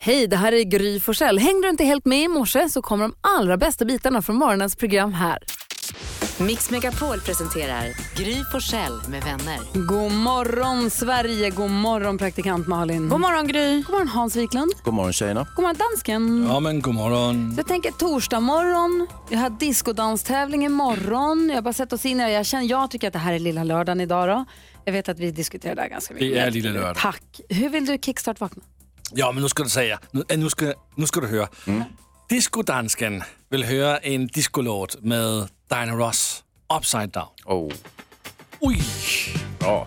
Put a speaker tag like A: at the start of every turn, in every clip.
A: Hej, det här är Gry Forssell. Hängde du inte helt med i morse så kommer de allra bästa bitarna från morgonens program här.
B: Mix Megapol presenterar Gry Forssell med vänner.
A: God morgon Sverige, god morgon praktikant Malin.
C: God morgon Gry.
A: God morgon Hans Wiklund.
D: God morgon tjejerna.
A: God morgon dansken.
E: Ja men god morgon.
A: Så jag tänker torsdag morgon, jag har discodanstävling imorgon. Jag har bara sett oss in i det. Jag, känner, jag tycker att det här är lilla lördagen idag då. Jag vet att vi diskuterar det här ganska mycket.
E: Det är lilla lördag.
A: Tack. Hur vill du kickstart vakna?
E: Ja men nu ska du säga, nu, äh, nu, ska, nu ska du höra.
D: Mm.
E: Discodansken vill höra en discolåt med Diana Ross, Upside Down.
D: Oh.
E: Oj!
D: Bra.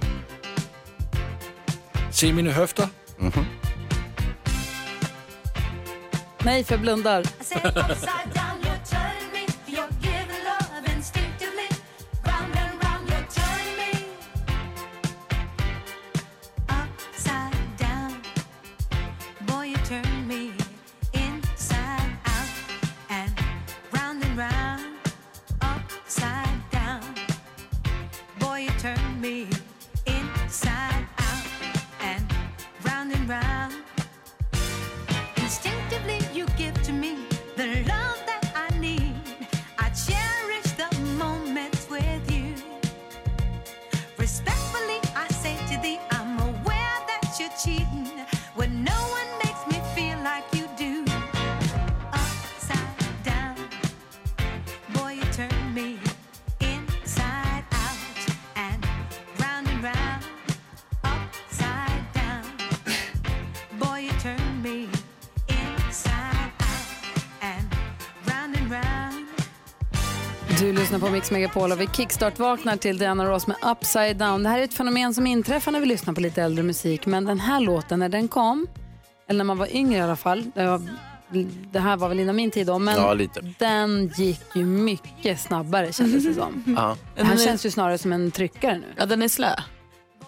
E: Se mina höfter.
D: Mhm.
A: Nej, för jag blundar.
F: Turn me inside out and round and round. Instinctively, you give to me the love that I need. I cherish the moments with you. Respectfully, I say to thee, I'm aware that you're cheating when no one makes me feel like you do. Upside down, boy, you turn me inside out and round and round. Upside down. Boy, you turn me inside out and round and round.
A: Du lyssnar på Mix Megapol och vi kickstart-vaknar till Diana Ross med Upside Down. Det här är ett fenomen som inträffar när vi lyssnar på lite äldre musik, men den här låten när den kom, eller när man var yngre i alla fall, det, var, det här var väl innan min tid då, men
D: Ja, lite.
A: den gick ju mycket snabbare kändes det som.
D: Ja.
A: Det
E: Mm.
A: här känns ju snarare som en tryckare nu.
C: Ja, den är slö.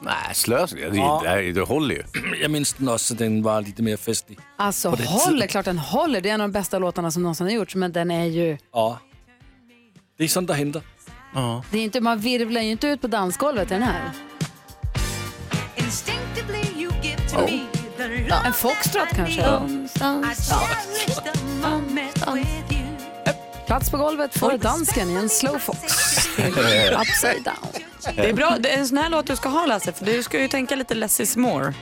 D: Nej, slös. Det, det, det håller ju.
E: Jag minns den också, den var lite mer festlig.
A: Alltså håller, klart den håller. Det är en av de bästa låtarna som någonsin har gjorts, men den är ju...
E: Ja. Det är sånt där händer.
A: Det är inte, man virvlar ju inte ut på dansgolvet i den här.
F: Instinctively, you give to me the love
A: Oh. En foxtrot
F: that I
A: kanske?
F: need. I cherish the moments with you.
A: Plats på golvet för dansken i en slowfox. Upside down.
C: Det är bra. Det är en sån här låt du ska ha Lasse, för du ska ju tänka lite less is more.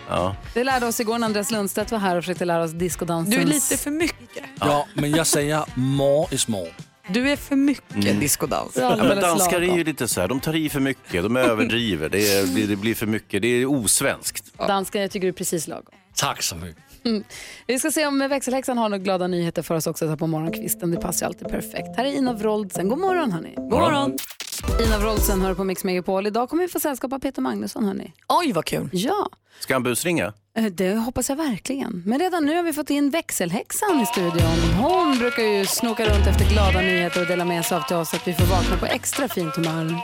A: Det lärde oss igår när Andreas Lundstedt var här och försökte lära oss discodansen.
C: Du är lite för mycket.
E: Ja men jag säger more is more.
C: Du är för mycket discodans.
A: Ja,
D: Mm. Ja, men danskar är ju lite så här, de tar i för mycket, de överdriver, det, är, det blir- det blir för mycket, det är osvenskt.
A: Danskan, jag tycker du är precis lagom. Mm.
E: Tack så mycket.
A: Vi ska se om växelhäxan har några glada nyheter för oss också här på morgonkvisten. Det passar ju alltid perfekt. Här är Ina Wroldsen. God morgon hörni.
C: God morgon.
A: Ina Wroldsen hör på Mix Megapol. Idag kommer vi få sällskap av Peter Magnusson hörni.
C: Oj, vad kul.
A: Ja,
D: Ska han busringa?
A: eh, det hoppas jag verkligen. Men redan nu har vi fått in växelhäxan i studion. Hon brukar ju snoka runt efter glada nyheter och dela med sig av till oss så att vi får vakna på extra fint humör.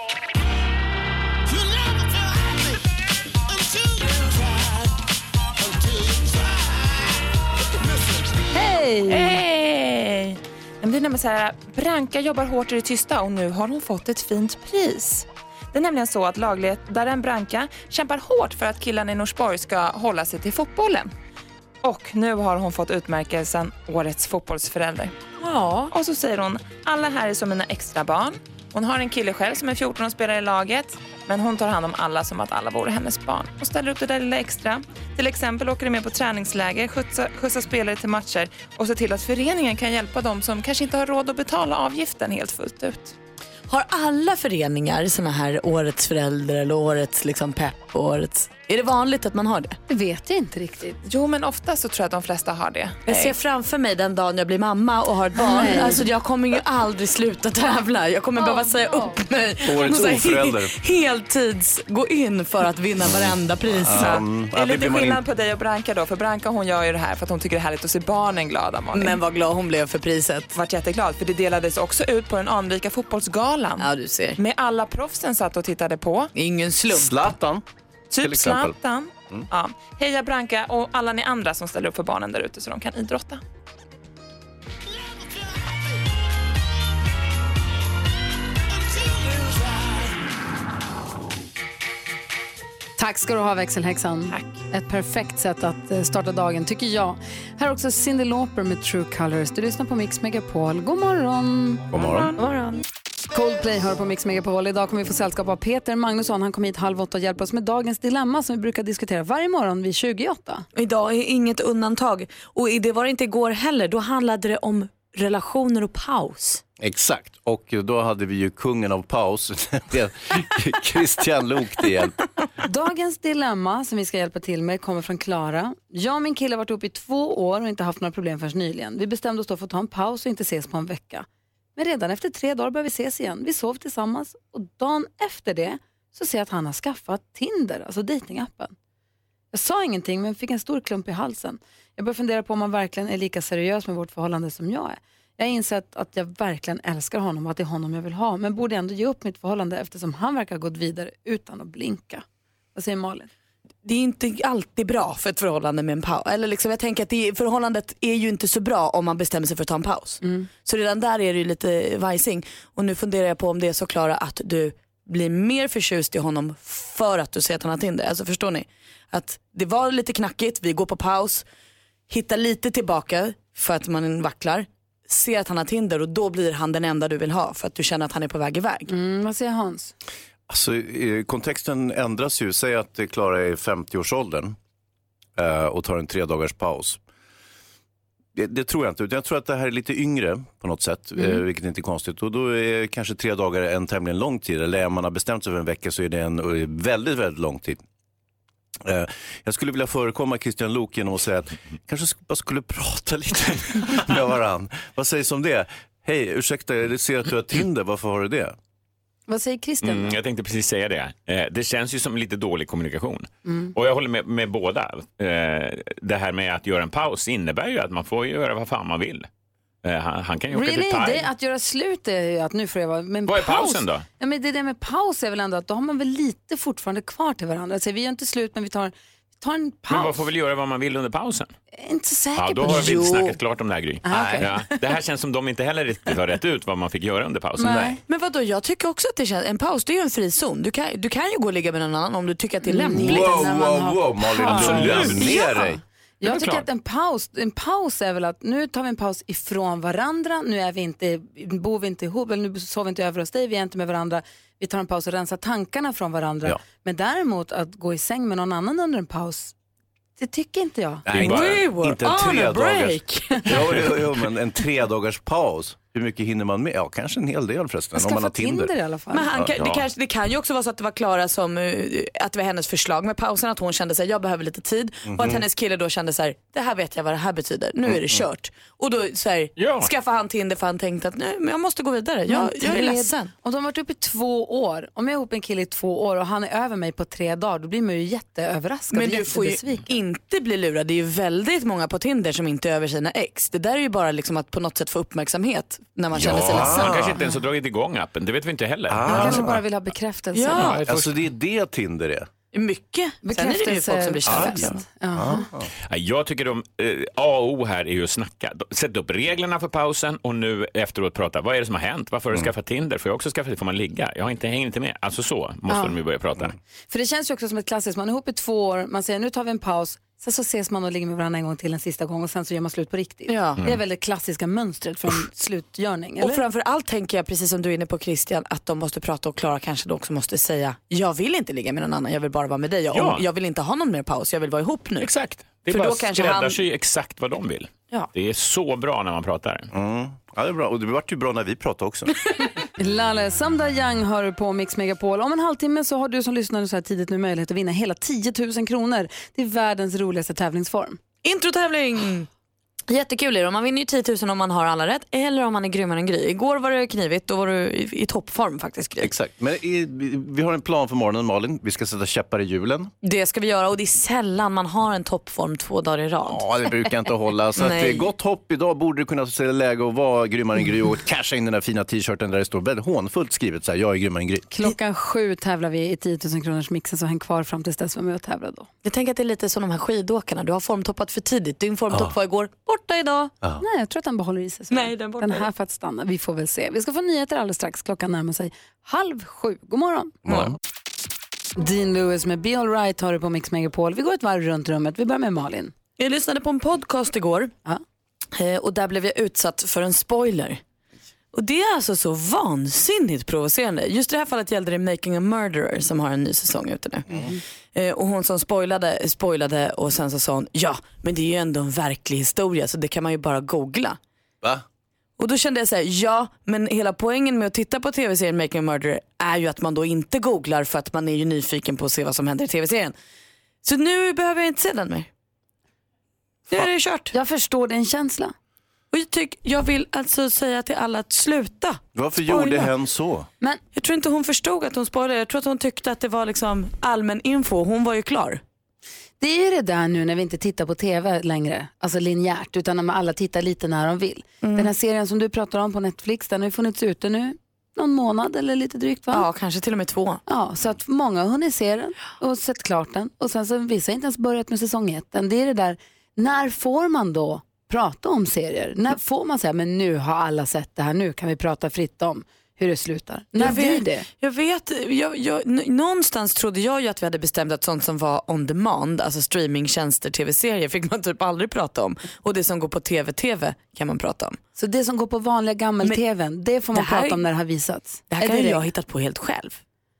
A: Hej!
G: Hej! Men Det är nämligen så här, Branka jobbar hårt i det tysta och nu har hon fått ett fint pris. Det är nämligen så att lagledaren Branka kämpar hårt för att killarna i Norsborg ska hålla sig till fotbollen. Och nu har hon fått utmärkelsen Årets fotbollsförälder.
C: Ja.
G: Och så säger hon, alla här är som mina extra barn. Hon har en kille själv som är 14 och spelar i laget. Men hon tar hand om alla som att alla vore hennes barn. Och ställer upp det där lilla extra. Till exempel åker de med på träningsläger, skjutsar, skjutsar spelare till matcher och ser till att föreningen kan hjälpa dem som kanske inte har råd att betala avgiften helt fullt ut.
C: Har alla föreningar såna här årets förälder eller årets liksom pepp? och Årets... Är det vanligt att man har det?
A: Det vet jag inte riktigt.
G: Jo, men ofta så tror jag att de flesta har det.
C: Jag ser framför mig den dagen jag blir mamma och har ett barn. Alltså jag kommer ju aldrig sluta tävla. Jag kommer behöva säga upp mig.
D: Årets
C: Och så här,
H: Alltså,
D: oförälder.
C: Heltids gå in för att vinna varenda pris.
D: Mm,
G: Det är
D: ja,
G: lite
D: blir man in-
G: skillnad på dig och Branka då, för Branka hon gör ju det här för att hon tycker det är härligt att se barnen glada, Malin.
C: Men vad glad hon blev för priset.
G: Vart jätteglad, för det delades också ut på den anrika fotbollsgalan.
C: Ja du ser.
G: Med alla proffsen satt och tittade på.
C: Ingen slump.
D: Zlatan. Till
G: Typ
D: exempel. Mm.
G: Zlatan. Ja. Heja Branka och alla ni andra som ställer upp för barnen där ute så de kan idrotta.
A: Tack ska du ha växelhäxan.
G: Tack.
A: Ett perfekt sätt att eh, starta dagen tycker jag. Här är också Cyndi Lauper med True Colors. Du lyssnar på Mix Megapol. God morgon!
D: God morgon.
A: Coldplay hör på Mix Megapol. Idag kommer vi få sällskap av Peter Magnusson. Han kom hit halv åtta och hjälper oss med dagens dilemma som vi brukar diskutera varje morgon vid 28.
C: Idag är inget undantag och i- det var det inte igår heller. Då handlade det om relationer och paus.
D: Exakt, och då hade vi ju kungen av paus, nämligen Christian Lok till hjälp.
A: Dagens dilemma som vi ska hjälpa till med kommer från Klara. Jag och min kille har varit ihop i två år och inte haft några problem förrän nyligen. Vi bestämde oss då för att ta en paus och inte ses på en vecka. Men redan efter tre dagar började vi ses igen. Vi sov tillsammans och dagen efter det så ser jag att han har skaffat Tinder, alltså datingappen. Jag sa ingenting men fick en stor klump i halsen. Jag började fundera på om han verkligen är lika seriös med vårt förhållande som jag är. Jag har insett att jag verkligen älskar honom och att det är honom jag vill ha men borde ändå ge upp mitt förhållande eftersom han verkar ha gått vidare utan att blinka. Vad säger Malin?
C: Det är inte alltid bra för ett förhållande med en paus. Eller liksom, jag tänker att det, förhållandet är ju inte så bra om man bestämmer sig för att ta en paus.
A: Mm.
C: Så redan där är det ju lite vajsing. Och nu funderar jag på om det är så Klara att du blir mer förtjust i honom för att du ser att han har Tinder. Alltså förstår ni? Att det var lite knackigt, vi går på paus, hittar lite tillbaka för att man vacklar, ser att han har Tinder och då blir han den enda du vill ha för att du känner att han är på väg iväg.
A: Mm, vad säger Hans?
D: Alltså, eh, kontexten ändras ju. Säg att eh, Klara är i 50-årsåldern eh, och tar en tre dagars paus. Det, det tror jag inte, utan jag tror att det här är lite yngre på något sätt, eh, vilket inte är konstigt. Och då är kanske tre dagar en tämligen lång tid, eller om man har bestämt sig för en vecka så är det en eh, väldigt, väldigt lång tid. Eh, Jag skulle vilja förekomma Christian Lok genom att säga att kanske sk- bara skulle prata lite med varandra. Vad sägs om det? Hej, ursäkta, jag ser att du har Tinder, varför har du det?
A: Vad säger Christian?
I: Mm, jag tänkte precis säga det. Eh, det känns ju som lite dålig kommunikation.
A: Mm.
I: Och jag håller med, med båda. Eh, det här med att göra en paus innebär ju att man får göra vad fan man vill. Eh, han, han kan ju åka
A: Really?
I: till Thailand.
A: Det, att göra slut är ju att nu får jag vara... Men
I: Vad är
A: paus-
I: pausen då?
A: Ja, men det där med paus är väl ändå att då har man väl lite fortfarande kvar till varandra. Alltså, vi gör inte slut men vi tar, vi tar en
I: Men man
A: paus.
I: får väl göra vad man vill under pausen?
A: Jag är inte så säker
I: Ja, då
A: på
I: har
A: det.
I: vi inte snackat klart om det här Gry.
A: Ah, okej.
I: Ja, det här känns som de inte heller riktigt har rätt ut vad man fick göra under pausen.
A: Nej.
C: Men vadå, jag tycker också att det känns, en paus det är ju en frizon. Du kan, du kan ju gå och ligga med någon annan om du tycker att det är
A: Mm.
C: lämpligt.
A: när man
D: Wow, wow,
A: har
D: wow, Malin,
A: paus.
D: lugn ner
A: Ja.
D: dig.
I: är
A: Jag
I: väl
A: tycker
I: klart.
A: att en paus, en paus är väl att nu tar vi en paus ifrån varandra, nu är vi inte, bor vi inte ihop, eller nu sover vi inte över hos dig, vi är inte med varandra. Vi tar en paus och rensar tankarna från varandra.
D: Ja.
A: Men däremot att gå i säng med någon annan under en paus, det tycker inte jag.
D: Nej, inte,
C: We were
D: inte en
C: on
D: tre
C: a
D: dagars,
C: break.
D: jo, jo, jo, men en tre dagars paus. Hur mycket hinner man med? Ja, kanske en hel del förresten. Om man har
A: Skaffa Tinder.
D: Tinder.
A: i alla fall.
C: Men han kan,
I: Ja.
C: det, kanske, det kan ju också vara så att det var Klara som, eh, att det var hennes förslag med pausen, att hon kände sig jag behöver lite tid och att hennes kille då kände så här, det här vet jag vad det här betyder, nu är det kört. Och då så här,
I: Ja.
C: skaffade han Tinder för han tänkte att nej, men jag måste gå vidare, jag,
A: Men
C: jag är
A: tre-
C: ledsen.
A: Om de har varit uppe i två år, om jag är ihop med en kille i två år och han är över mig på tre dagar, då blir man ju jätteöverraskad
C: Men
A: och
C: du får ju
A: jättebesviken.
C: inte bli lurad, det är ju väldigt många på Tinder som inte är över sina ex. Det där är ju bara liksom att på något sätt få uppmärksamhet när man känner sig ledsen.
I: Han kanske inte ens har dragit igång appen, det vet vi inte heller.
A: Han kanske bara vill ha bekräftelse.
C: Ja.
D: Ah. Alltså det är det Tinder är.
C: Mycket. Sen är det ju folk som blir kära.
A: Bekräftelsefest.
I: Nej, Jag tycker de, eh, A och O här är ju att snacka. De- Sätt upp reglerna för pausen och nu efteråt prata. Vad är det som har hänt? Varför har
D: Mm.
I: du skaffat Tinder? Får jag också skaffa Får man ligga? Jag har inte, hänger inte med. Alltså så måste de ju börja prata.
D: Mm.
A: För det känns ju också som ett klassiskt, man är ihop i två år, man säger nu tar vi en paus, sen så ses man och ligger med varandra en gång till en sista gång och sen så gör man slut på riktigt.
C: Ja.
A: Det är väl det klassiska mönstret från slutgörning,
C: Och
A: eller?
C: framför allt tänker jag, precis som du är inne på Christian, att de måste prata och Klara kanske då också måste säga, jag vill inte ligga med någon annan, jag vill bara vara med dig. Jag,
I: Ja.
C: jag vill inte ha någon mer paus, jag vill vara ihop nu.
I: Exakt. Det är
C: För
I: bara
C: då kanske han-
I: skräddarsy exakt vad de vill.
C: Ja.
I: Det är så bra när man pratar.
D: Mm. Ja, det är bra. Och det vart ju bra när vi pratade också.
A: Lalle, Samda Young hör du på Mix Megapol. Om en halvtimme så har du som lyssnar så här tidigt nu möjlighet att vinna hela 10 000 kronor. Det är världens roligaste tävlingsform.
C: Introtävling! Jättekul är det. Man vinner ju 10 000 om man har alla rätt eller om man är grymmare än Gry. Igår var det knivigt, då var du i, i toppform faktiskt Gry.
D: Exakt. Men i, vi- vi har en plan för morgonen Malin. Vi ska sätta käppar i hjulen.
C: Det ska vi göra och det är sällan man har en toppform två dagar i rad.
D: Ja, det brukar inte hålla. Så att
C: Nej.
D: det är gott hopp. Idag borde det kunna se läge att vara grymmare än Gry och casha in den där fina t-shirten där det står väldigt hånfullt skrivet så här, jag är grymmare än Gry.
A: Klockan sju tävlar vi i 10 000 kronors mixen så häng kvar fram tills dess vi är med och tävlar då.
C: Jag tänker att det är lite som de här skidåkarna, du har formtoppat för tidigt. Din formtopp var igår, borta idag.
A: Nej, jag tror att den behåller i sig. så.
C: Nej, den borta.
A: den här för att stanna. Vi får väl se. Vi ska få nyheter alldeles strax. Klockan närmar sig halv sju. God morgon. Dean Lewis med Be Alright har du på Mix Megapol. Vi går ett varv runt rummet. Vi börjar med Malin.
C: Jag lyssnade på en podcast igår
A: Ja.
C: eh, och där blev jag utsatt för en spoiler. Och det är alltså så vansinnigt provocerande. Just i det här fallet gällde det Making a Murderer som har en ny säsong ute nu. Eh, och hon som spoilade, spoilade och sen så sa hon, ja men det är ju ändå en verklig historia så det kan man ju bara googla.
D: Va?
C: Och då kände jag så här, ja men hela poängen med att titta på tv-serien Making a Murderer är ju att man då inte googlar för att man är ju nyfiken på att se vad som händer i tv-serien. Så nu behöver jag inte se den mer. Nu är det kört.
A: Jag förstår din känsla.
C: Och jag, tyck, jag vill alltså säga till alla att sluta.
D: Varför
C: Spoila.
D: gjorde hen så?
A: Men
C: Jag tror inte hon förstod att hon spoilade. Jag tror att hon tyckte att det var liksom allmän info. Hon var ju klar.
A: det är ju det där nu när vi inte tittar på tv längre, alltså linjärt, utan när man alla tittar lite när de vill.
C: Mm.
A: Den här serien som du pratar om på Netflix, den har ju funnits ute nu någon månad eller lite drygt va?
C: Ja, kanske till och med två.
A: Ja, så att många har hunnit se den och sett klart den. Och sen så vissa har inte ens börjat med säsong ett än. Det är det där, när får man då prata om serier? När får man säga, men nu har alla sett det här, nu kan vi prata fritt om hur det slutar? När
C: Jag
A: blir
C: vet-
A: det?
C: Jag vet, jag, jag, n- någonstans trodde jag ju att vi hade bestämt att sånt som var on demand, alltså streamingtjänster, tv-serier fick man typ aldrig prata om. Och det som går på tv-tv kan man prata om.
A: Så det som går på vanliga gammel-tvn, det får man
C: det här-
A: prata om när det har visats?
C: Det här
A: Är
C: kan ju
A: det
C: jag ha
A: det?
C: hittat på helt själv.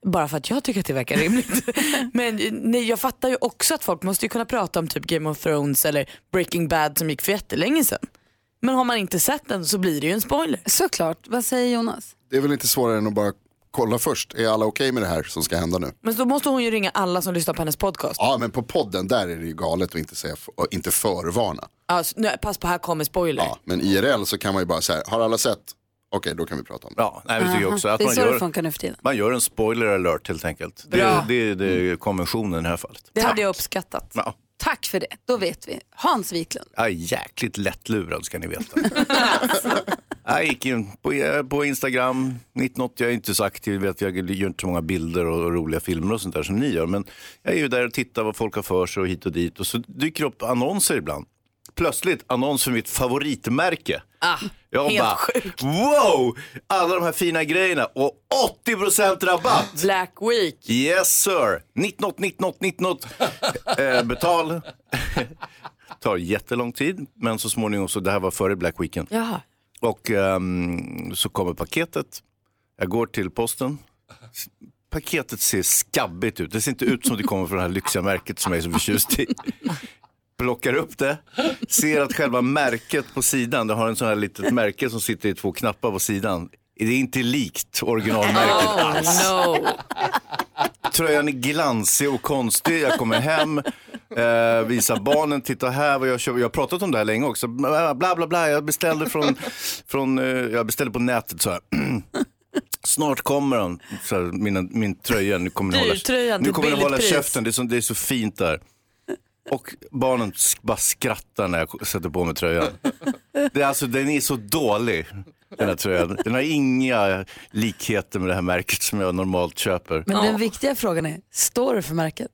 C: Bara för att jag tycker att det verkar rimligt. Men eh, nej, jag fattar ju också att folk måste ju kunna prata om typ Game of Thrones eller Breaking Bad som gick för jättelänge sedan. Men har man inte sett den så blir det ju en spoiler.
A: Såklart. Vad säger Jonas?
J: Det är väl inte svårare än att bara kolla först. Är alla okej med det här som ska hända nu?
C: Men då måste hon ju ringa alla som lyssnar på hennes podcast.
J: Ja, men på podden, där är det ju galet att inte, säga, att inte förvarna.
C: Alltså, nej, pass på, här kommer spoiler.
J: Ja, men IRL så kan man ju bara säga, har alla sett? Okej, då kan vi prata om det.
D: Ja, nej, vi tycker också att
A: det är
D: man
A: så det
D: gör,
A: funkar nu för tiden.
D: man gör en spoiler alert helt enkelt. Det,
C: Bra.
D: det, det är konventionen i det här fallet.
C: Det hade jag uppskattat.
D: Ja.
A: Tack för det, då vet vi. Hans Wiklund.
D: Jag är jäkligt lättlurad ska ni veta. jag gick in på, på Instagram 1980, jag är inte så aktiv, vet, jag gör inte så många bilder och, och roliga filmer och sånt där som ni gör. Men jag är ju där och tittar vad folk har för sig och hit och dit. Och så dyker det upp annonser ibland. Plötsligt annons för mitt favoritmärke. Ah, jag
C: helt
D: bara,
C: sjukt.
D: wow! Alla de här fina grejerna och 80% rabatt!
C: Black Week.
D: Yes sir! 19 19 19 eh, Betal. Tar jättelång tid, men så småningom, så det här var före Black Weekend.
C: Jaha.
D: Och ehm, så kommer paketet. Jag går till posten. S- Paketet ser skabbigt ut. Det ser inte ut som det kommer från det här lyxiga märket som jag är så förtjust i. Plockar upp det, ser att själva märket på sidan, det har en sån här litet märke som sitter i två knappar på sidan. Det är inte likt originalmärket
C: Oh no.
D: Tröjan är glansig och konstig. Jag kommer hem, eh, visar barnen, titta här vad jag köper. Jag har pratat om det här länge också. Bla bla bla, bla. jag beställde från, från eh, jag beställde på nätet så här. Snart kommer den, så här, mina, min tröja. Nu kommer den hålla,
C: Dyrtröjan till
D: nu kommer den
C: billigt
D: hålla
C: pris.
D: käften, det är, så, det är så fint där. Och barnen sk- bara skrattar när jag sätter på mig tröjan. Det är alltså, den är så dålig, den här tröjan. Den har inga likheter med det här märket som jag normalt köper.
A: Men den viktiga frågan är, står du för märket?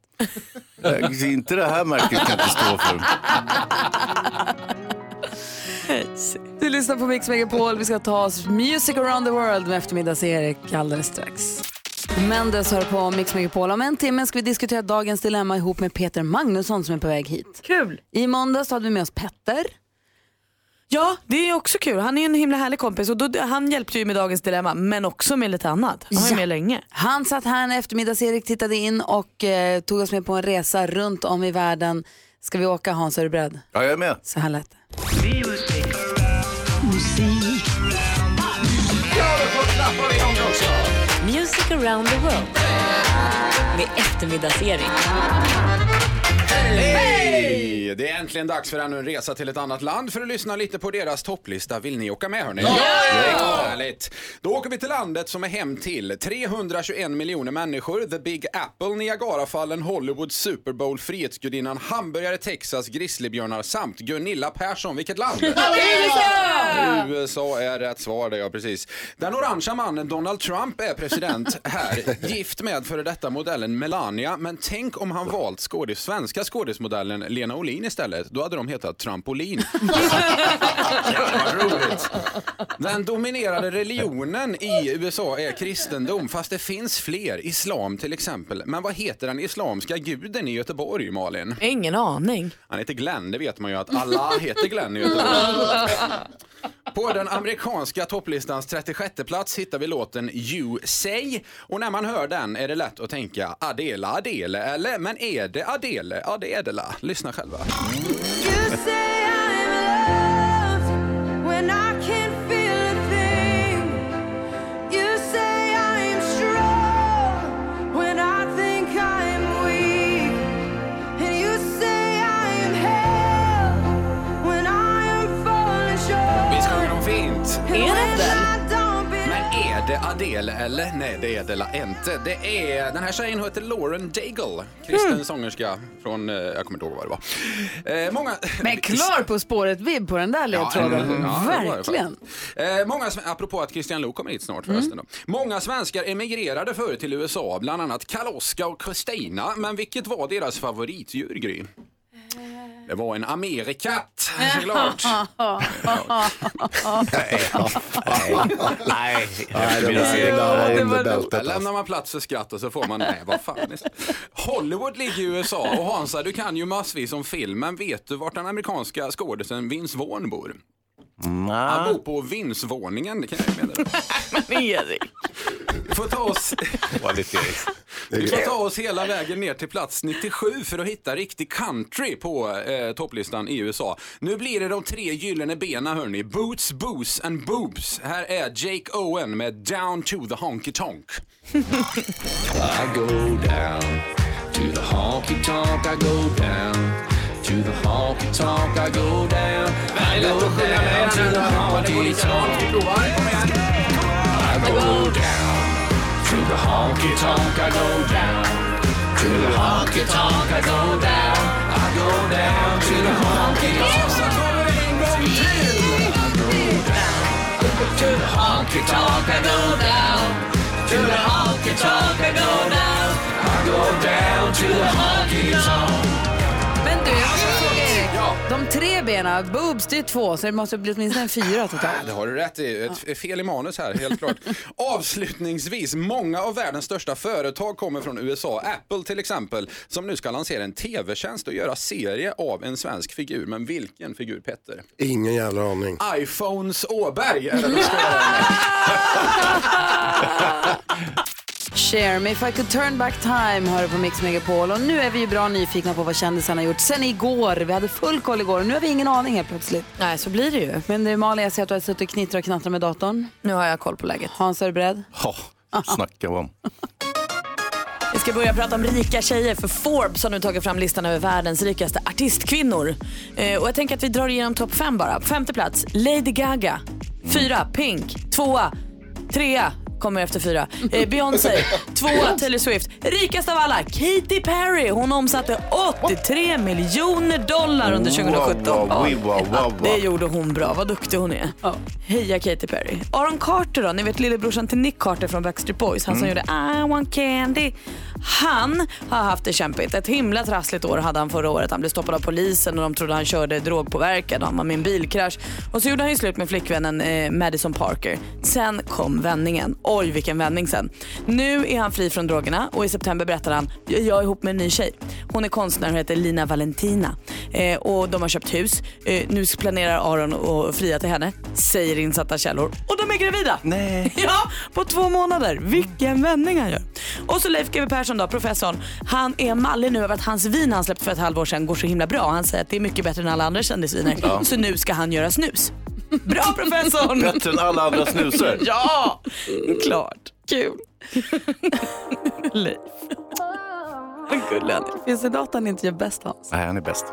D: Nej, Äh, Inte det här märket kan jag inte stå för.
A: Du lyssnar på Mix Megapol. Vi ska ta oss Music around the world med eftermiddags-Erik alldeles strax. Mendes hör på Mix Megapol. Om en timme ska vi diskutera dagens dilemma ihop med Peter Magnusson som är på väg hit.
C: Kul.
A: I måndags hade vi med oss Petter.
C: Ja, det är också kul. Han är en himla härlig kompis och då, han hjälpte ju med dagens dilemma men också med lite annat. Han var ju
A: Ja.
C: med länge.
A: Han satt här när eftermiddags-Erik tittade in och eh, tog oss med på en resa runt om i världen. Ska vi åka Hans, är du beredd?
D: Ja, jag är med.
A: Så här lät det.
B: Music around the world med eftermiddags-Erik.
K: Hej! Det är äntligen dags för ännu en resa till ett annat land för att lyssna lite på deras topplista. Vill ni åka med hörni? Ja! Härligt! Då åker vi till landet som är hem till 321 miljoner människor, The Big Apple, Niagarafallen, Hollywood, Super Bowl, Frihetsgudinnan, hamburgare, Texas, grizzlybjörnar samt Gunilla Persson. Vilket land? USA är rätt svar där, ja precis. Den orangea mannen Donald Trump är president här, gift med före detta modellen Melania. Men tänk om han valt skådis, svenska skådismodellen Lena Olin. trampolin istället, då hade de hetat trampolin. Den dominerade religionen i USA är kristendom, fast det finns fler. Islam till exempel. Men vad heter den islamska guden i Göteborg, Malin?
C: Ingen aning.
K: Han heter Glenn, det vet man ju att alla heter Glenn i Göteborg. På den amerikanska topplistans 36 plats hittar vi låten You Say. Och när man hör den är det lätt att tänka Adela Adele, eller? Men är det Adele? Ja, det är det la. Lyssna själva.
F: When I can't feel a thing, you say I am strong. When I think I am weak, and you say I am held. When I am falling short,
K: Visst sjunger de fint?
F: and when I don't
K: Men är det Adele eller? Nej, det är det la inte. Det är, den här tjejen heter Lauren Daigle, kristen sångerska från, eh, jag kommer inte ihåg vad det var. Eh, många...
A: Men klar På spåret-vibb på den där ledtråden.
K: eller hur? Ja, det var det
A: Verkligen.
K: faktiskt. Eh, många, sve- apropå att Christian Lok kommer hit snart förresten. Då. Många svenskar emigrerade förr till USA, bland annat Kaloska och Kristina. Men vilket var deras favoritdjur, Gry? Det var en amerikatt, såklart.
I: Nej,
K: Där lämnar man plats för skratt och så får man, nej vad fan. är det? Hollywood ligger i USA och Hansa du kan ju massvis om film, men vet du vart den amerikanska skådisen Vince Vaughn bor? Han bor på vindsvåningen, det kan jag ju meddela. Vi får ta oss, vi får ta oss hela vägen ner till plats 97 för att hitta riktig country på eh, topplistan i USA. Nu blir det de tre gyllene bena hörni. Boots, booze and boobs. Här är Jake Owen med Down to the Honky Tonk.
H: I go down to the honky tonk. I go down to the honky tonk. I go down. I go down to the honky tonk. I go down to the honky tonk. I go down to the honky tonk. I go down. I go down to the honky tonk. I go down to the honky tonk. I go down to the honky tonk. I go down. I go down to the honky tonk.
A: Men du, jag måste fråga Erik. De tre benen, boobs, det är två, så det måste bli åtminstone fyra totalt.
K: Det har du rätt i. Ett f- fel i manus här, helt klart. Avslutningsvis, många av världens största företag kommer från USA. Apple till exempel, som nu ska lansera en tv-tjänst och göra serie av en svensk figur. Men vilken figur, Petter?
L: Ingen jävla aning.
K: iPhones Åberg är det de ska göra.
A: Share me if I could turn back time hör du på Mix Megapol. Och nu är vi ju bra nyfikna på vad kändisarna har gjort sen igår. Vi hade full koll igår och nu har vi ingen aning helt plötsligt.
C: Nej, så blir det ju.
A: Men du Malin, jag ser att du har suttit och knittrat och knattrat med datorn.
C: Nu har jag koll på läget.
A: Hans, är du beredd?
D: Ja, snacka om.
C: Vi ska börja prata om rika tjejer för Forbes har nu tagit fram listan över världens rikaste artistkvinnor. Eh, och jag tänker att vi drar igenom topp fem bara. På femte plats, Lady Gaga. Fyra, Pink. Tvåa, trea, kommer efter fyra. Eh, Beyoncé. Tvåa, Taylor Swift. Rikast av alla, Katy Perry. Hon omsatte 83 miljoner dollar under 2017.
D: Wow, wow, wow, wow,
C: Ja,
D: wow.
C: det gjorde hon bra. Vad duktig hon är. Heja Katy Perry. Aaron Carter då, ni vet lillebrorsan till Nick Carter från Backstreet Boys. Han som gjorde I want candy. Han har haft det kämpigt. Ett himla trassligt år hade han förra året. Han blev stoppad av polisen och de trodde han körde drogpåverkad. Han var med i en bilkrasch. Och så gjorde han ju slut med flickvännen eh, Madison Parker. Sen kom vändningen. Oj, vilken vändning sen. Nu är han fri från drogerna och i september berättar han jag är ihop med en ny tjej. Hon är konstnär och heter Lina Valentina. Eh, och de har köpt hus. Eh, nu planerar Aron att fria till henne, säger insatta källor. Och de är gravida!
D: Nej.
C: Ja, på två månader. Vilken vändning han gör. Och så Leif GW Persson då, professorn. Han är mallig nu över att hans vin han släppte för ett halvår sedan går så himla bra. Han säger att det är mycket bättre än alla andra kändisviner. Så nu ska han göra snus. Bra professorn!
D: Bättre än alla andra snusar.
C: Ja, klart. Kul. Leif. Vad gullig han är.
A: Finns det något han inte gör bäst Hans?
D: Nej, han är bäst.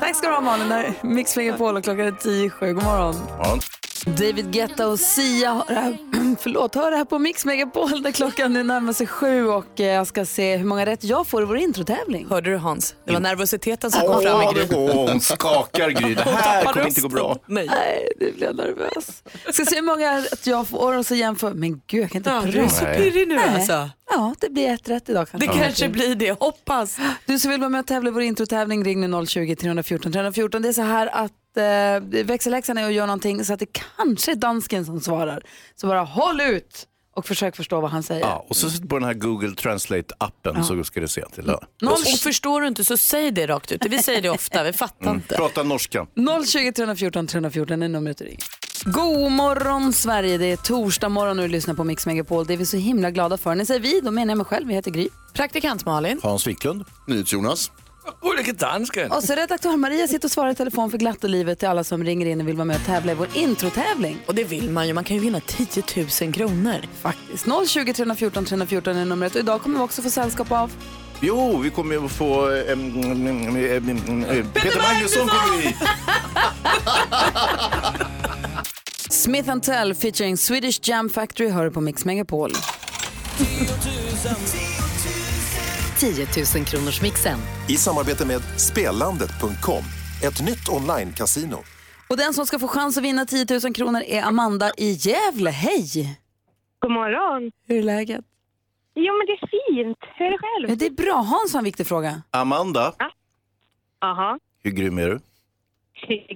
A: Tack ska du ha Malin. Det här är Mix Megapol och klockan är tio, sju. God morgon.
D: Ja.
A: David Guetta och Sia har det här, förlåt, har det här på Mix Megapol där klockan nu närmar sig sju och eh, jag ska se hur många rätt jag får i vår introtävling. Mm.
C: Hörde du Hans? Det var nervositeten som kom fram i
D: Åh,
C: Gry.
D: det går. Hon skakar Gry. Det här kommer inte gå bra.
C: Nej.
A: Nej, nu blir jag nervös. Ska se hur många rätt jag får och så jämför. Men gud, jag kan inte
C: Ja,
A: prata.
C: du är så pirrig nu
A: Nej.
C: alltså.
A: Ja, det blir ett rätt idag.
C: Det kanske blir det, hoppas.
A: Du som vill vara med och tävla i vår introtävling, ring nu 020-314 314. Det är så här att eh, växelläxan är att göra någonting så att det kanske är dansken som svarar. Så bara håll ut och försök förstå vad han säger.
D: Ja, och så sitter på den här Google Translate-appen så ska det se till det. Mm.
C: Och förstår du inte så säg det rakt ut. Vi säger det ofta, vi fattar
D: Mm.
C: inte.
D: Prata norska.
A: 020 314 314 är numret du ringer. God morgon Sverige, det är torsdag morgon och du lyssnar på Mix Megapol. Det är vi så himla glada för. När jag säger vi, då menar jag mig själv. Jag heter Gry.
C: Praktikant Malin.
D: Hans Wiklund. Jonas.
E: Olika dansken.
A: Och så redaktör Maria sitter och svarar i telefon för glatta livet till alla som ringer in och vill vara med och tävla i vår introtävling.
C: Och det vill man ju, man kan ju vinna 10 000 kronor.
A: Faktiskt. 020 314 314 är numret och idag kommer vi också få sällskap av
D: Jo, vi kommer ju att få... eh, mm, mm, mm, mm, mm, eh, Peter Magnusson kommer vi.
A: Smith Tell featuring Swedish Jam Factory hör du på Mix Megapol.
B: 10 000 kronors mixen.
L: I samarbete med Spelandet.com, ett nytt online-casino.
A: Och den som ska få chans att vinna 10 000 kronor är Amanda i Gävle. Hej!
M: God morgon.
A: Hur är läget?
M: Jo, men det är fint. Hur är det själv?
A: Det är bra. Hans har en viktig fråga.
D: Amanda,
M: Aha.
D: hur grym är du?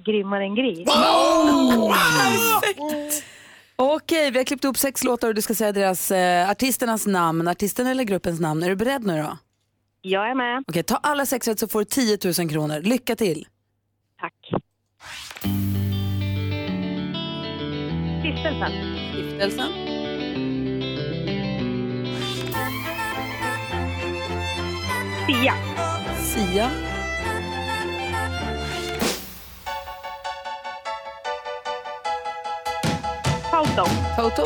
M: Grymmare än gris.
A: Perfekt! Okej, vi har klippt upp sex låtar och du ska säga deras, eh, artisternas namn, artisten eller gruppens namn. Är du beredd nu då?
M: Jag är med.
A: Okej, ta alla sex rätt så får du 10 000 kronor. Lycka till!
M: Stiftelsen.
A: Stiftelsen.
M: Sia.
A: Sia.
M: Toto.
A: Toto.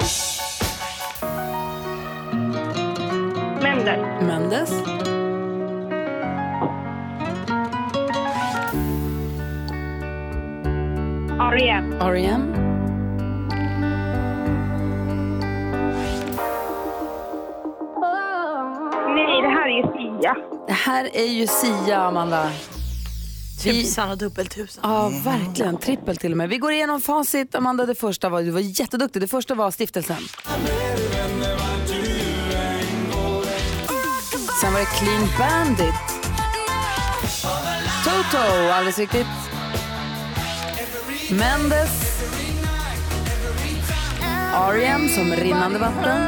M: Mendel.
A: Mendes.
M: R.E.M.
A: R.E.M.
M: Nej, det här är ju Sia.
A: Det här är ju Sia, Amanda.
C: Tusan och dubbeltusan.
A: Ja, verkligen. Trippel till och med. Vi går igenom facit. Amanda, det första var, du var jätteduktig. Det första var stiftelsen. Sen var det Clean Bandit. Toto, alldeles riktigt. Mendes. R.E.M. E som rinnande vatten.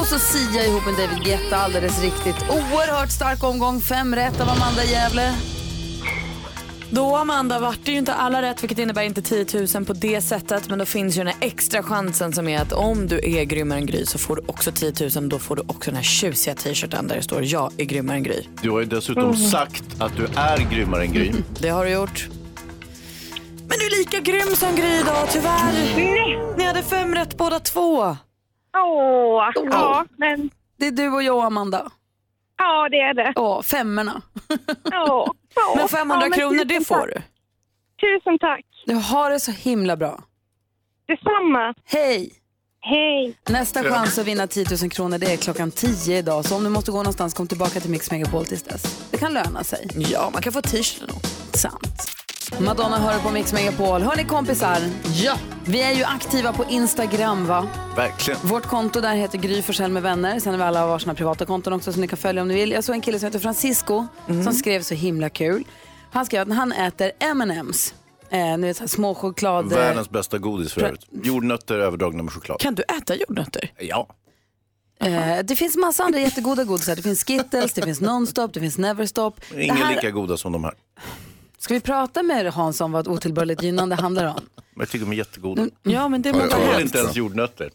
A: Och så Sia ihop med David Guetta, alldeles riktigt. Oerhört stark omgång. Fem rätt av Amanda Gävle.
C: Då Amanda vart det ju inte alla rätt vilket innebär inte 10 000 på det sättet men då finns ju den här extra chansen som är att om du är grymmare än Gry så får du också 10 000 då får du också den här tjusiga t-shirten där det står jag är grymmare än Gry.
D: Du har ju dessutom
C: Mm.
D: sagt att du är grymmare än Gry.
C: Det har du gjort. Men du är lika grym som Gry idag tyvärr. Ni hade fem rätt båda två.
M: Åh, ja, men...
A: Det är du och jag, Amanda.
M: Ja, det är det.
A: Ja, femmorna.
M: Ja.
C: Men 500 kronor det får du.
M: Tusen tack.
A: Du har det så himla bra.
M: Detsamma.
A: Hej!
M: Hej!
A: Nästa chans att vinna 10 000 kronor det är klockan 10 idag. Så om du måste gå någonstans, kom tillbaka till Mix Megapol tills dess. Det kan löna sig.
C: Ja, man kan få t-shirten också.
A: Sant. Madonna hör på Mix Megapol. Hör ni kompisar? Ja! Vi är ju aktiva på Instagram va?
D: Verkligen.
A: Vårt konto där heter Gry Forssell med vänner. Sen har vi alla varsina privata konton också som ni kan följa om ni vill. Jag såg en kille som heter Francisco som skrev så himla kul. Han skrev att han äter M&M's. Eh, nu är så här små choklad... eh,
D: Världens bästa godis för övrigt. Jordnötter överdragna med choklad.
C: Kan du äta jordnötter?
D: Ja.
A: Eh, det finns massa andra jättegoda godisar. Det finns Skittles, det finns Nonstop, det finns Neverstop. Det
D: Inga
A: här,
D: lika goda som de här.
A: ska vi prata med Hans om vad otillbörligt gynnande handlar om?
D: Men jag tycker de är jättegoda.
A: Mm, ja, men det
D: jag
A: måste vara
D: tål
A: hemskt.
D: inte ens jordnötter.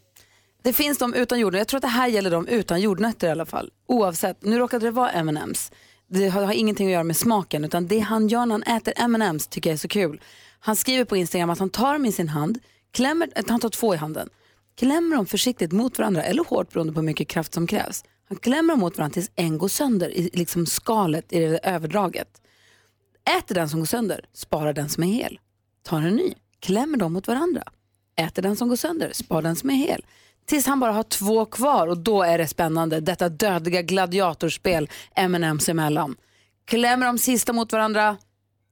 A: Det finns de utan jordnötter. Jag tror att det här gäller de utan jordnötter i alla fall. Oavsett, nu råkade det vara M&M's. Det har, har ingenting att göra med smaken utan det han gör när han äter M&M's tycker jag är så kul. Han skriver på Instagram att han tar dem i sin hand, klämmer, eh, han tar två i handen, klämmer dem försiktigt mot varandra eller hårt beroende på hur mycket kraft som krävs. Han klämmer dem mot varandra tills en går sönder i liksom skalet i det överdraget. Äter den som går sönder, sparar den som är hel. Tar en ny, klämmer dem mot varandra. Äter den som går sönder, sparar den som är hel. Tills han bara har två kvar och då är det spännande. Detta dödliga gladiatorspel M&M's emellan. Klämmer de sista mot varandra,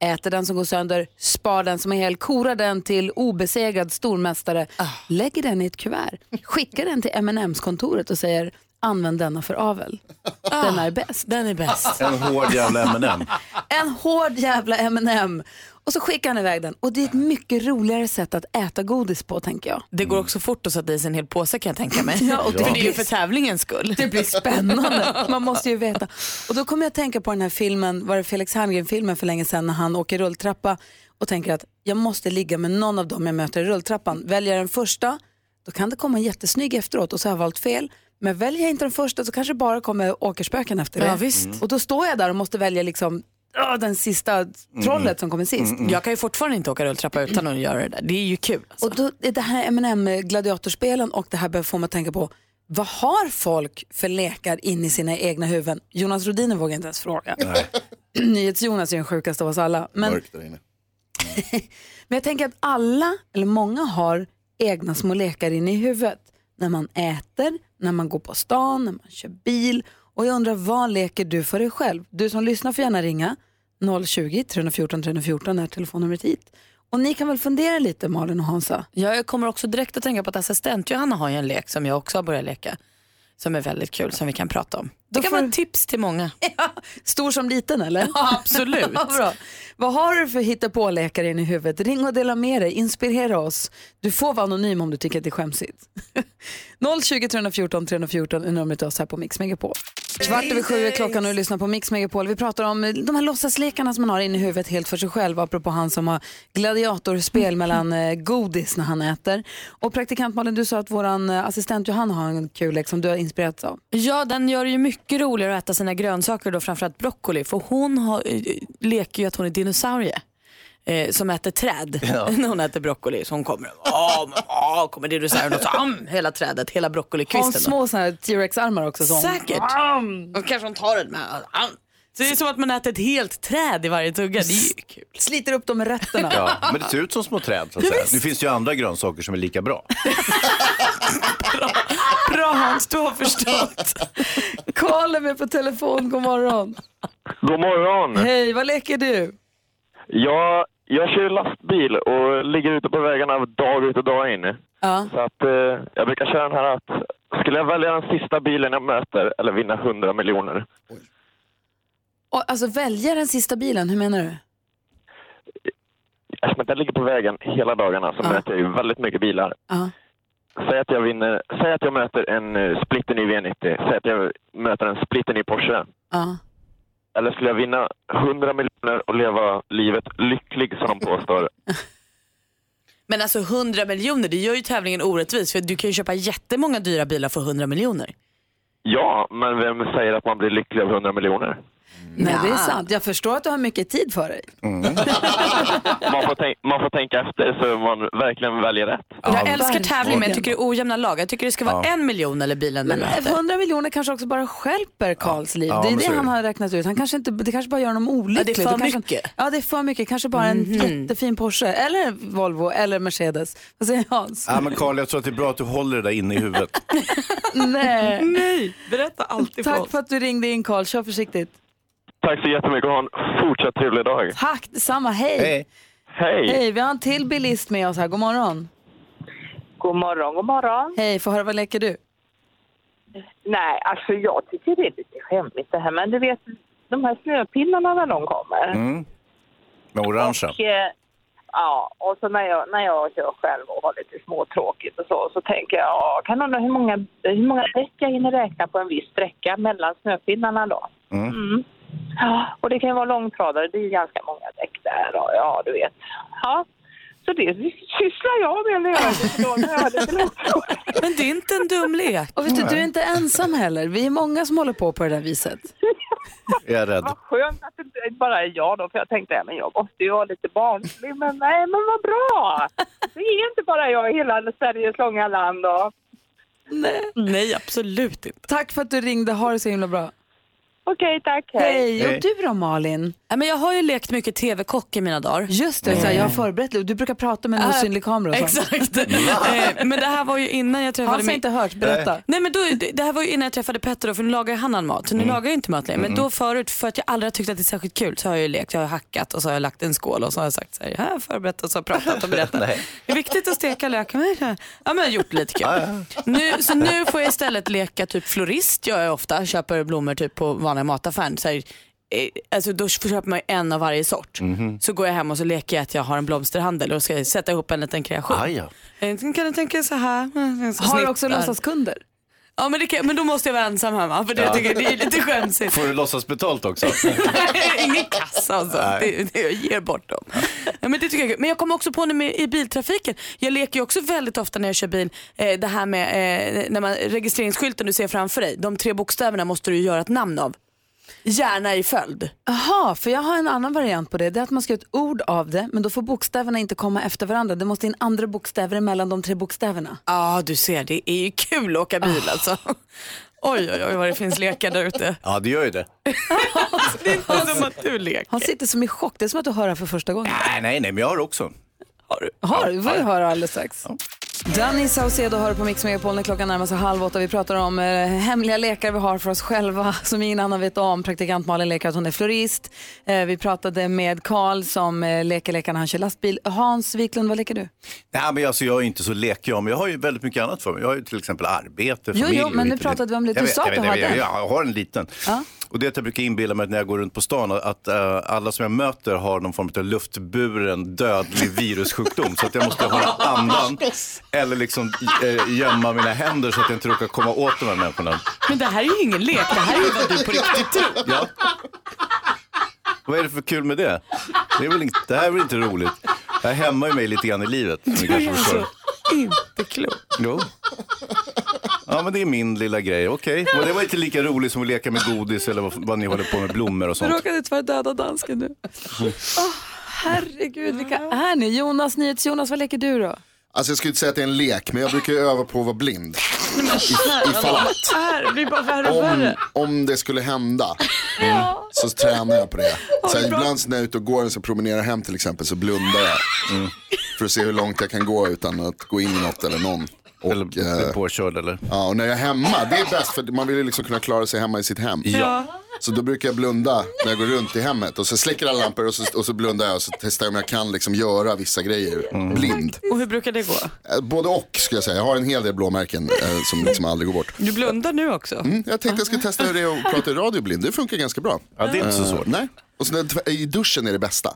A: äter den som går sönder, spar den som är hel, korar den till obesegrad stormästare,
C: Ah.
A: lägger den i ett kuvert, skickar den till M&M's kontoret och säger använd denna för avel. Den är bäst.
C: Ah. Den är bäst.
D: En hård jävla M&M.
A: En hård jävla M&M Och så skickar han iväg den. Och det är ett mycket roligare sätt att äta godis på tänker jag.
C: Det går också fort att sätta i sig en hel påse kan jag tänka mig.
A: Ja, och det
C: för det är ju
A: blir-
C: för tävlingens skull.
A: Det blir spännande. Man måste ju veta. Och då kommer jag att tänka på den här filmen, var det Felix Herngren-filmen för länge sedan när han åker rulltrappa och tänker att jag måste ligga med någon av dem jag möter i rulltrappan. Väljer jag den första, då kan det komma en jättesnygg efteråt och så har jag valt fel. Men väljer jag inte den första så kanske det bara kommer åkerspöken efter det.
C: Ja, visst. Mm.
A: Och då står jag där och måste välja liksom, ah, den sista trollet
C: Mm.
A: som kommer sist.
C: Jag kan ju fortfarande inte åka rulltrappa utan att göra det där. Det är ju kul.
A: Och då är det här M&M gladiatorspelen och det här behöver få mig att tänka på vad har folk för lekar in i sina egna huvuden? Jonas Rhodiner vågar inte ens fråga. NyhetsJonas är den sjukaste av oss alla. Men,
N: Mörkt där inne.
A: men jag tänker att alla, eller många, har egna små lekar in i huvudet. När man äter, när man går på stan, när man kör bil. Och jag undrar, vad leker du för dig själv? Du som lyssnar får gärna ringa. 020 314 314 är telefonnumret hit. Och ni kan väl fundera lite, Malin och Hansa?
C: Ja, jag kommer också direkt att tänka på att assistent Johanna har ju en lek som jag också har börjat leka. Som är väldigt kul som vi kan prata om. Det kan vara ett tips till många.
A: Stor som liten eller?
C: Ja, absolut.
A: Ja, Bra. Vad har du för hittepåläkare in i huvudet? Ring och dela med dig, inspirera oss. Du får vara anonym om du tycker att det är skämsigt. 020 314 314 är numret till oss här på Mix Megapol. Kvart över sju är klockan och du lyssnar på Mix Megapol. Vi pratar om eh, de här låtsaslekarna som man har inne i huvudet helt för sig själv, apropå han som har gladiatorspel mellan eh, godis när han äter. Och praktikant Malin, du sa att vår assistent Johanna har en kul lek som du har inspirerats av.
C: Ja, den gör det ju mycket roligare att äta sina grönsaker då, framförallt broccoli. För hon har, eh, leker ju att hon är dinosaurie. Eh, som äter träd
F: Ja.
C: när hon äter broccoli. Så hon kommer, åh, men, åh, kommer dinosaurien och så, am, Mm, hela trädet, hela
A: Har hon
C: broccolikvisten. då.
A: små såna här T-Rex-armar också? som-
C: Säkert. Och kanske hon tar den med. Ah. Am. Så det är som att man äter ett helt träd i varje tugga. Det är ju kul.
A: Sliter upp dem med rötterna.
D: Ja, men det ser ut som små träd. Så att
C: Ja,
D: säga.
C: visst.
D: Nu finns det ju andra grönsaker som är lika bra.
C: Bra Hans, du har förstått.
A: Karl är med på telefon, god morgon.
O: God morgon!
A: Hej, vad leker du?
O: Jag, jag kör lastbil och ligger ute på vägarna dag ut och dag in.
A: Ja.
O: Så att, eh, jag brukar köra den här att skulle jag välja den sista bilen jag möter eller vinna 100 miljoner?
A: Och, alltså välja den sista bilen, hur menar du?
O: Eftersom att jag ligger på vägen hela dagarna så möter jag ju väldigt mycket bilar.
A: Ja.
O: Säg att jag vinner, säg att jag möter en eh, splitten i V90, säg att jag möter en splitten i Porsche.
A: Ja.
O: Eller skulle jag vinna 100 miljoner och leva livet lycklig som de påstår?
C: Men alltså 100 miljoner, det gör ju tävlingen orättvis. För du kan ju köpa jättemånga dyra bilar för 100 miljoner.
O: Ja, men vem säger att man blir lycklig av 100 miljoner?
A: Nej, det är sant. Jag förstår att du har mycket tid för dig.
O: man, får tänk- man får tänka efter så man verkligen väljer rätt.
C: jag älskar tävling men jag tycker det är ojämna lag. Jag tycker det ska vara
O: Ja.
C: en miljon eller bilen man
A: Men
C: möter.
A: 100 miljoner kanske också bara stjälper Karls liv.
C: Ja,
A: det är
C: men
A: det
C: så är
A: han
C: det.
A: har räknat ut. Han kanske inte, det kanske bara gör honom olycklig.
C: Ja, det är för
A: Då kanske,
C: mycket. Mhm.
A: Ja, det är för mycket. Kanske bara en jättefin Porsche eller Volvo eller Mercedes. Vad säger Hans?
D: Ja, men Carl, jag tror att det är bra att du håller det där inne i huvudet.
A: Nej.
C: Nej, berätta alltid
A: Tack för att du ringde in Karl. Kör försiktigt.
O: Tack så jättemycket och ha en fortsatt trevlig dag.
A: Tack detsamma. Hej.
O: Hej!
A: Hej, vi har en till bilist med oss här. God morgon.
P: God morgon, god morgon.
A: Hej, få höra vad leker du?
P: Nej, alltså jag tycker det är lite skämmigt det här. Men du vet, de här snöpinnarna när de kommer.
D: Mm. Med orangea.
P: Och, eh, ja, och så när jag, när jag kör själv och har lite småtråkigt och så, så tänker jag, ja, kan undra hur många, hur många däck jag hinner räkna på en viss sträcka mellan snöpinnarna då. Mm. Ja, och det kan ju vara långtradare, det är ju ganska många däck där och ja, du vet. Ja. Så det sysslar jag med när jag är lite då, när jag är lite långtradare.
C: Men det är inte en dum lek.
A: Och vet du, du är inte ensam heller. Vi är många som håller på på det där viset.
D: Jag är rädd.
P: Vad skönt att det inte bara är jag då, för jag tänkte ja, men jag måste ju vara lite barnslig. Men nej, men vad bra! Det är inte bara jag i hela Sveriges långa land. Och...
A: Nej.
C: Nej, absolut inte.
A: Tack för att du ringde. Ha det så himla bra.
P: Okej, tack.
A: Hej.
P: Hej.
A: Och du då, Malin?
C: Nej, men jag har ju lekt mycket tv-kock i mina dagar.
A: Just det, så här, jag har förberett dig. Du brukar prata med en
C: Äh,
A: osynlig kamera. och sånt.
C: Exakt. Eh, men det här var ju innan jag träffade...
A: Hans har
C: min-
A: inte hört, berätta.
C: Nej. Nej, men då, det- det här var ju innan jag träffade Petter då, för nu lagar ju han all mat. Så nu lagar jag inte mat längre. Men
A: Mm.
C: då förut, för att jag aldrig har tyckt att det är särskilt kul, så har jag ju lekt. Jag har hackat och så har jag lagt en skål och så har jag sagt så här, här har jag förberett och så har jag pratat och berättat. Det är viktigt att steka lök. Men, eh, Ja, men jag har gjort lite kul. Nu, så nu får jag istället leka typ florist gör jag ofta. Köper blommor typ på vanliga mataffären. Så här, eh, alltså då köper man ju en av varje
H: Mm.
C: sort. Så går jag hem och så leker jag att jag har en blomsterhandel och ska sätta ihop en liten kreation.
H: Ah,
C: Eh, Kan du tänka så här?
A: Har du också låtsaskunder?
C: Ja men, det kan, men då måste jag vara ensam hemma för det, jag tycker det är lite skämsigt.
D: Får du låtsas betalt också?
C: Ingen kassa alltså.
D: Nej.
C: Det, det, jag ger bort dem. Ja, men, det tycker jag, är kul. men jag kommer också på det med, i biltrafiken. Jag leker ju också väldigt ofta när jag kör bil, eh, det här med eh, när man, registreringsskylten du ser framför dig, de tre bokstäverna måste du göra ett namn av. Gärna i följd.
A: Jaha, för jag har en annan variant på det. Det är att man ska göra ett ord av det, men då får bokstäverna inte komma efter varandra. Det måste in andra bokstäver emellan de tre bokstäverna.
C: Ja du ser, det är ju kul att åka bil alltså. Oj oj oj vad det finns lekar där ute.
D: Ja, det gör ju det.
C: Det är inte som att du leker.
A: Han sitter som i chock. Det är som att du hör det här för första gången.
D: Nej, nej, nej, men jag har också.
A: Har du? Vad jag hör alldeles strax. Danny Saucedo hör på Mix Megapol när klockan närmar sig halv åtta. Vi pratar om eh, hemliga lekar vi har för oss själva som ingen annan vet om. Praktikant Malin leker att hon är florist. Eh, vi pratade med Karl som eh, leker lekar när han kör lastbil. Hans Wiklund, vad leker du?
D: Nej, men alltså, jag är inte så lek jag, men jag har ju väldigt mycket annat för mig. Jag har ju till exempel arbete,
A: Jo,
D: familj.
A: jo,
D: och
A: men nu
D: hit och
A: pratade
D: dit.
A: vi om det. Du
D: Jag vet,
A: sa
D: jag
A: att
D: vet,
A: du har
D: jag,
A: den.
D: vet, Jag, jag har en liten.
A: Ja.
D: Och det är att jag brukar inbilla mig när jag går runt på stan att eh, alla som jag möter har någon form av luftburen dödlig virussjukdom. så att jag måste hålla andan eller liksom eh, gömma mina händer så att jag inte råkar komma åt de här människorna.
C: Men det här är ju ingen lek, det här är ju vad du på riktigt tror.
D: Ja. Vad är det för kul med det? Det, är väl inte, det här är väl inte roligt? Det här hämmar ju mig lite grann i livet. som ni
C: Du är
D: kanske förstår.
C: alltså inte klok.
D: Jo. Ja, men det är min lilla grej. Okej, Och det var inte lika roligt som att leka med godis eller vad, vad ni håller på med, blommor och
A: Du
D: sånt.
A: råkade tyvärr döda dansken nu. Herregud, vilka är ni? Jonas, NyhetsJonas, vad leker du då?
J: Alltså jag skulle inte säga att det är en lek, men jag brukar ju öva på att vara blind. I fallat.
A: Det blir bara värre och
J: Om,
A: värre.
J: om det skulle hända så tränar jag på det. Så här, ibland när jag är ute och går och så promenerar hem till exempel så blundar jag. För att se hur långt jag kan gå utan att gå in i något eller någon. Och, eller
D: påkörd eller?
J: Ja, och när jag är hemma, det är bäst för man vill ju liksom kunna klara sig hemma i sitt hem.
F: Ja.
J: Så då brukar jag blunda när jag går runt i hemmet och så släcker alla lampor och så, och så blundar jag och så testar jag om jag kan liksom göra vissa grejer blind.
C: Och hur brukar det gå?
J: Eh, Både och skulle jag säga. Jag har en hel del blåmärken eh, som liksom aldrig går bort.
C: Du blundar nu också?
J: Mm, jag tänkte jag skulle testa hur det är att prata i radio blind. Det funkar ganska bra.
D: Ja, det är inte så
J: Eh,
D: svårt.
J: nej. Och sen när- i duschen är det bästa.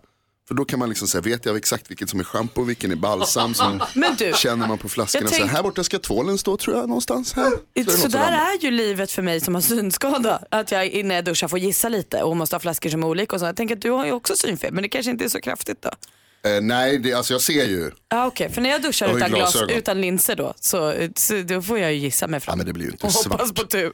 J: För då kan man liksom säga, vet jag exakt vilken som är schampo, vilken är balsam. Som
C: Men du,
J: känner man på flaskorna.
C: jag
J: Så
C: tänkte-
J: här borta ska tvålen stå tror jag någonstans. Här. Så är det något
C: Så
J: som
C: där
J: ramlar.
C: är ju livet för mig som har synskada. Att jag innan jag duschar får gissa lite och måste ha flaskor som är olika och så. Jag tänker att du har ju också synfel men det kanske inte är så kraftigt då.
J: Eh, nej, det, alltså jag ser ju.
C: Ja okej, för när jag duschar
J: Jag har ju
C: utan glas,
J: glasögon.
C: utan linser då, så, så då får jag ju gissa mig fram.
J: men det blir ju inte
C: och hoppas
J: svart.
C: på tur.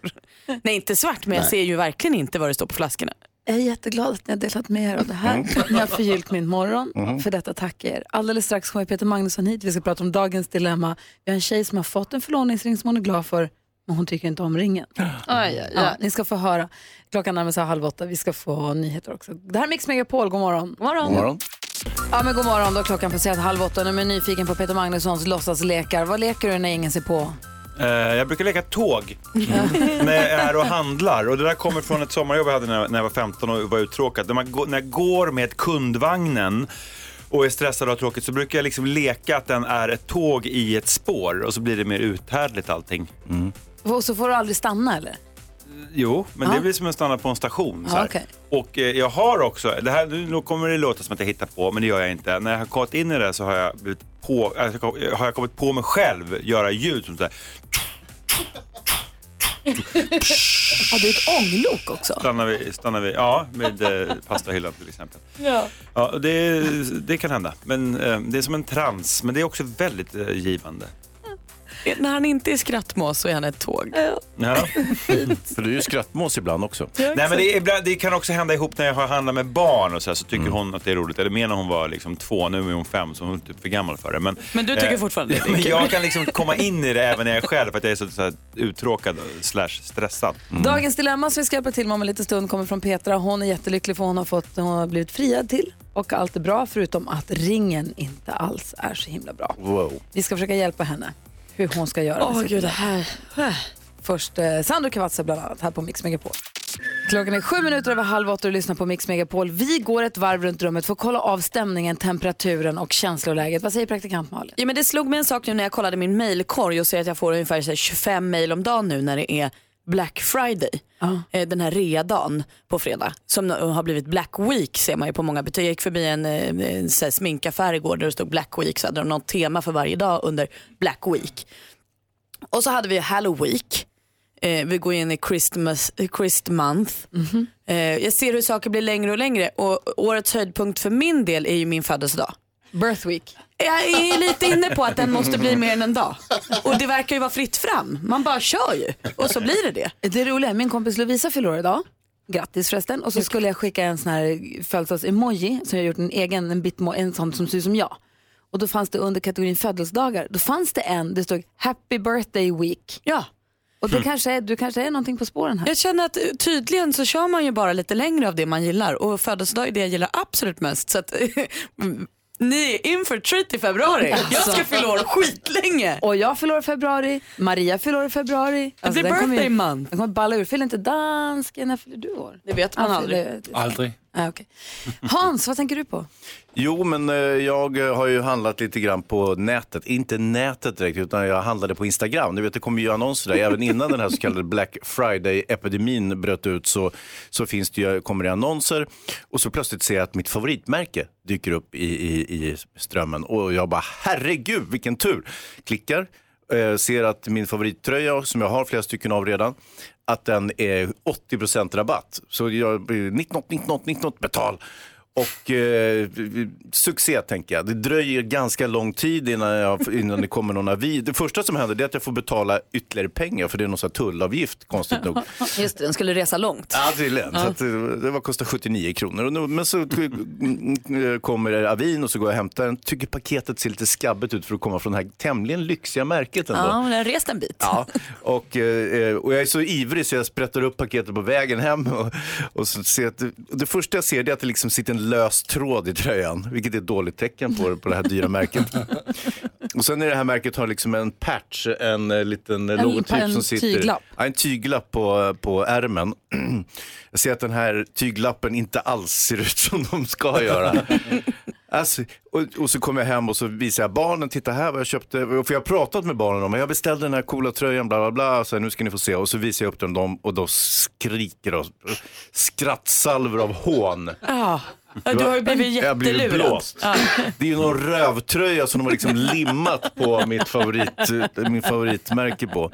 C: Nej inte svart men jag
J: Nej.
C: ser ju verkligen inte vad det står på flaskorna.
A: Jag är jätteglad att ni har delat med er av det här. Ni har förgyllt min morgon.
C: Mm.
A: För detta tackar er. Alldeles strax kommer Peter Magnusson hit. Vi ska prata om dagens dilemma. Vi har en tjej som har fått en förlovningsring som hon är glad för, men hon tycker inte om ringen. Ja, ni ska få höra. Klockan närmar sig halv åtta. Vi ska få nyheter också. Det här är Mix Megapol. God morgon. God morgon.
D: God morgon.
A: Ja, men god morgon. Då har klockan passerat halv åtta. Nu är jag nyfiken på Peter Magnussons låtsaslekar. Vad leker du när ingen ser på?
N: Eh, Jag brukar leka tåg när jag är och handlar. Och det där kommer från ett sommarjobb jag hade när jag- när jag var 15 och var uttråkad. När, man, går- när jag går med kundvagnen och är stressad och har tråkigt så brukar jag liksom leka att den är ett tåg i ett spår och så blir det mer uthärdligt allting.
A: Mm. Och så får du aldrig stanna eller?
N: Jo, men
A: Ja.
N: det blir som att stanna på en station. Så
A: Ja,
N: här.
A: okej.
N: Och eh, jag har också, det här, nu nu kommer det låta som att jag hittar på, men det gör jag inte. När jag har kommit in i det så har jag, blivit på, alltså, har jag kommit på mig själv göra ljud som så här,
A: Ja, det är ett ånglok också.
N: stannar vi, stannar vi, ja, med eh, pastahyllan till exempel.
A: Ja.
N: Ja, och det, det kan hända. Men eh, det är som en trans, men det är också väldigt eh, givande.
C: När han inte är skrattmås så är han ett tåg.
N: Ja.
D: För du är ju skrattmås ibland också.
N: Nej, men det, är, ibland- det kan också hända ihop när jag har handlat med barn och så, här, så
D: Mm.
N: tycker hon att det är roligt. Eller mer när hon var liksom två, nu är hon fem så hon är typ för gammal för det. Men,
C: Men du tycker fortfarande det är
N: ja, men
C: kul.
N: Jag kan liksom komma in i det även när jag är själv för att jag är så, så här, uttråkad slash stressad.
D: Mm.
A: Dagens dilemma som vi ska hjälpa till med om en liten stund kommer från Petra. Hon är jättelycklig för hon har, fått, hon har blivit friad till och allt är bra förutom att ringen inte alls är så himla bra.
D: Wow.
A: Vi ska försöka hjälpa henne hur hon ska göra. med
C: Åh,
A: sitt
C: gud,
A: liv.
C: det här.
A: Först eh, Sandro Cavazza bland annat här på Mix Megapol. Klockan är sju minuter över halv åtta och du lyssnar på Mix Megapol. Vi går ett varv runt rummet för att kolla av stämningen, temperaturen och känsloläget. Vad säger praktikant Malin?
C: Ja, men det slog mig en sak nu när jag kollade min mailkorg och ser att jag får ungefär så här, 25 mail om dagen nu när det är Black Friday. Eh, Den här readagen på fredag som nu har blivit Black Week ser man ju på många butiker. Jag gick förbi en, eh, en så här, sminkaffär igår där det stod Black Week så hade de något tema för varje dag under Black Week. Och så hade vi Halloween. Eh, vi går in i Christmas, eh, Christ month. Eh, jag ser hur saker blir längre och längre och årets höjdpunkt för min del är ju min födelsedag.
A: Birth Week.
C: Jag är lite inne på att den måste bli mer än en dag. Och det verkar ju vara fritt fram. Man bara kör ju och så blir det det.
A: Det roliga är min kompis Lovisa fyller år idag. Grattis förresten. Och så skulle jag skicka en sån här födelsedags-emoji som jag gjort en egen, en, bitmo, en sån som ser ut som jag. Och då fanns det under kategorin födelsedagar, då fanns det en, det stod happy birthday week.
C: Ja.
A: Och det kanske är, du kanske är någonting på spåren här.
C: Jag känner att eh, tydligen så kör man ju bara lite längre av det man gillar och födelsedag är det jag gillar absolut mest. Så att, mm, ni är in for a treat i februari. Jag ska
A: Alltså.
C: fylla år skitlänge.
A: Och jag fyller år i februari, Maria fyller år i februari. Alltså,
C: blir
A: den kommer ju-
C: birthday month.
A: Den kommer balla ur. Fyller inte dansken, när fyller du år?
C: Det vet man
A: Han
C: aldrig.
A: fyller-
D: Aldrig.
A: Ah, okay. Hans, vad tänker du på?
D: Jo, men eh, jag har ju handlat lite grann på nätet. Inte nätet direkt, utan jag handlade på Instagram. Du vet, det kommer ju annonser där. Även innan den här så kallade Black Friday-epidemin bröt ut så, så finns det ju, kommer det annonser. Och så plötsligt ser jag att mitt favoritmärke dyker upp i, i, i strömmen. Och jag bara, herregud, vilken tur! Klickar, eh, ser att min favorittröja, som jag har flera stycken av redan, att den är 80 rabatt. Så jag blir 19, 19, 19, betal. Och eh, succé tänker jag. Det dröjer ganska lång tid innan, jag, innan det kommer någon avi. Det första som händer det är att jag får betala ytterligare pengar för det är någon sån här tullavgift konstigt nog.
C: Just det, den skulle resa långt.
D: Ja, tydligen. Så att, det det var kostar 79 kronor. Och nu, men så eh, kommer det avin och så går jag och hämtar den. Tycker paketet ser lite skabbigt ut för att komma från det här tämligen lyxiga märket ändå.
C: Ja, men den har rest en bit.
D: Ja, och, eh, och jag är så ivrig så jag sprättar upp paketet på vägen hem. Och, och så ser jag att, och det första jag ser det är att det liksom sitter en lös tråd i tröjan, vilket är ett dåligt tecken på, på det här dyra märket. och sen är det här märket har liksom en patch, en eh, liten eh,
A: En-
D: logotyp
A: en
D: som sitter.
A: tyglapp.
D: Ja, en tyglapp på, på ärmen. jag ser att den här tyglappen inte alls ser ut som de ska göra. Alltså, och, och så kommer jag hem och så visar jag barnen, titta här vad jag köpte. För jag har pratat med barnen om, jag beställde den här coola tröjan, bla bla bla. Så här, nu ska ni få se. Och så visar jag upp den dem och då skriker de skrattsalvor av hån.
C: Ja, du har ju blivit
D: Jag blir ju
C: jättelurad.
D: blåst.
C: Ja.
D: Det är ju någon rövtröja som de har liksom limmat på mitt favorit, min favoritmärke på.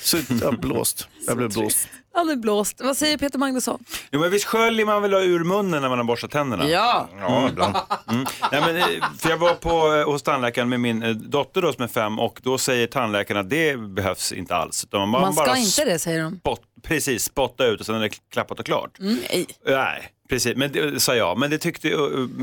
D: Så jag blåst. Jag blev blåst.
A: Han är blåst. Vad säger Peter Magnusson?
N: Jo, men visst sköljer man väl ur munnen när man har borstat tänderna?
A: Ja.
N: ja ibland. Mm. Nej, men, eh, för jag var på, eh, hos tandläkaren med min eh, dotter då, som är fem och då säger tandläkaren att det behövs inte alls. Utan man, bara-
A: Man ska
N: bara
A: inte det säger de. Mm.
N: Spott, precis, spotta ut och sen är det klappat och klart.
A: Nej.
N: Nej, precis. Men det sa jag. Men det tyckte eh,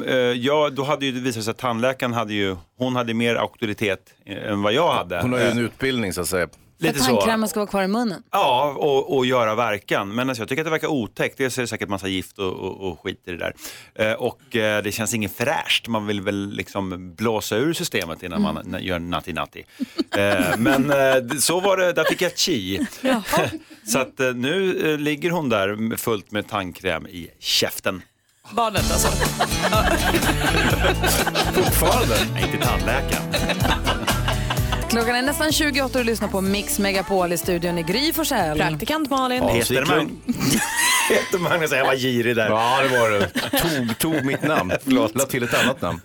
N: eh, jag. Då hade ju det visat sig att tandläkaren hade ju, hon hade mer auktoritet eh, än vad jag hade.
D: Hon har ju
N: Eh,
D: en utbildning så att säga.
N: Lite
A: För
N: så.
A: tandkrämen ska vara kvar i munnen.
N: Ja, och, och göra verkan. Men alltså, jag tycker att det verkar otäckt. Dels är det säkert massa gift och, och, och skit i det där. Eh, och eh, det känns inget fräscht. Man vill väl liksom blåsa ur systemet innan man na- gör natti natti. Eh, men eh, d- så var det, där fick jag chi. så att eh, nu eh, ligger hon där med- fullt med tandkräm i käften.
C: Barnet alltså.
N: Fortfarande? Nej, inte tandläkaren.
A: Klockan är nästan 28 och du lyssnar på Mix Megapol i studion i Gry Forssell.
C: Praktikant Malin.
N: Peter, Mag- Peter Magnus, jag var girig där.
D: Ja, det var du. Tog, tog mitt namn. Förlåt. La till ett annat namn.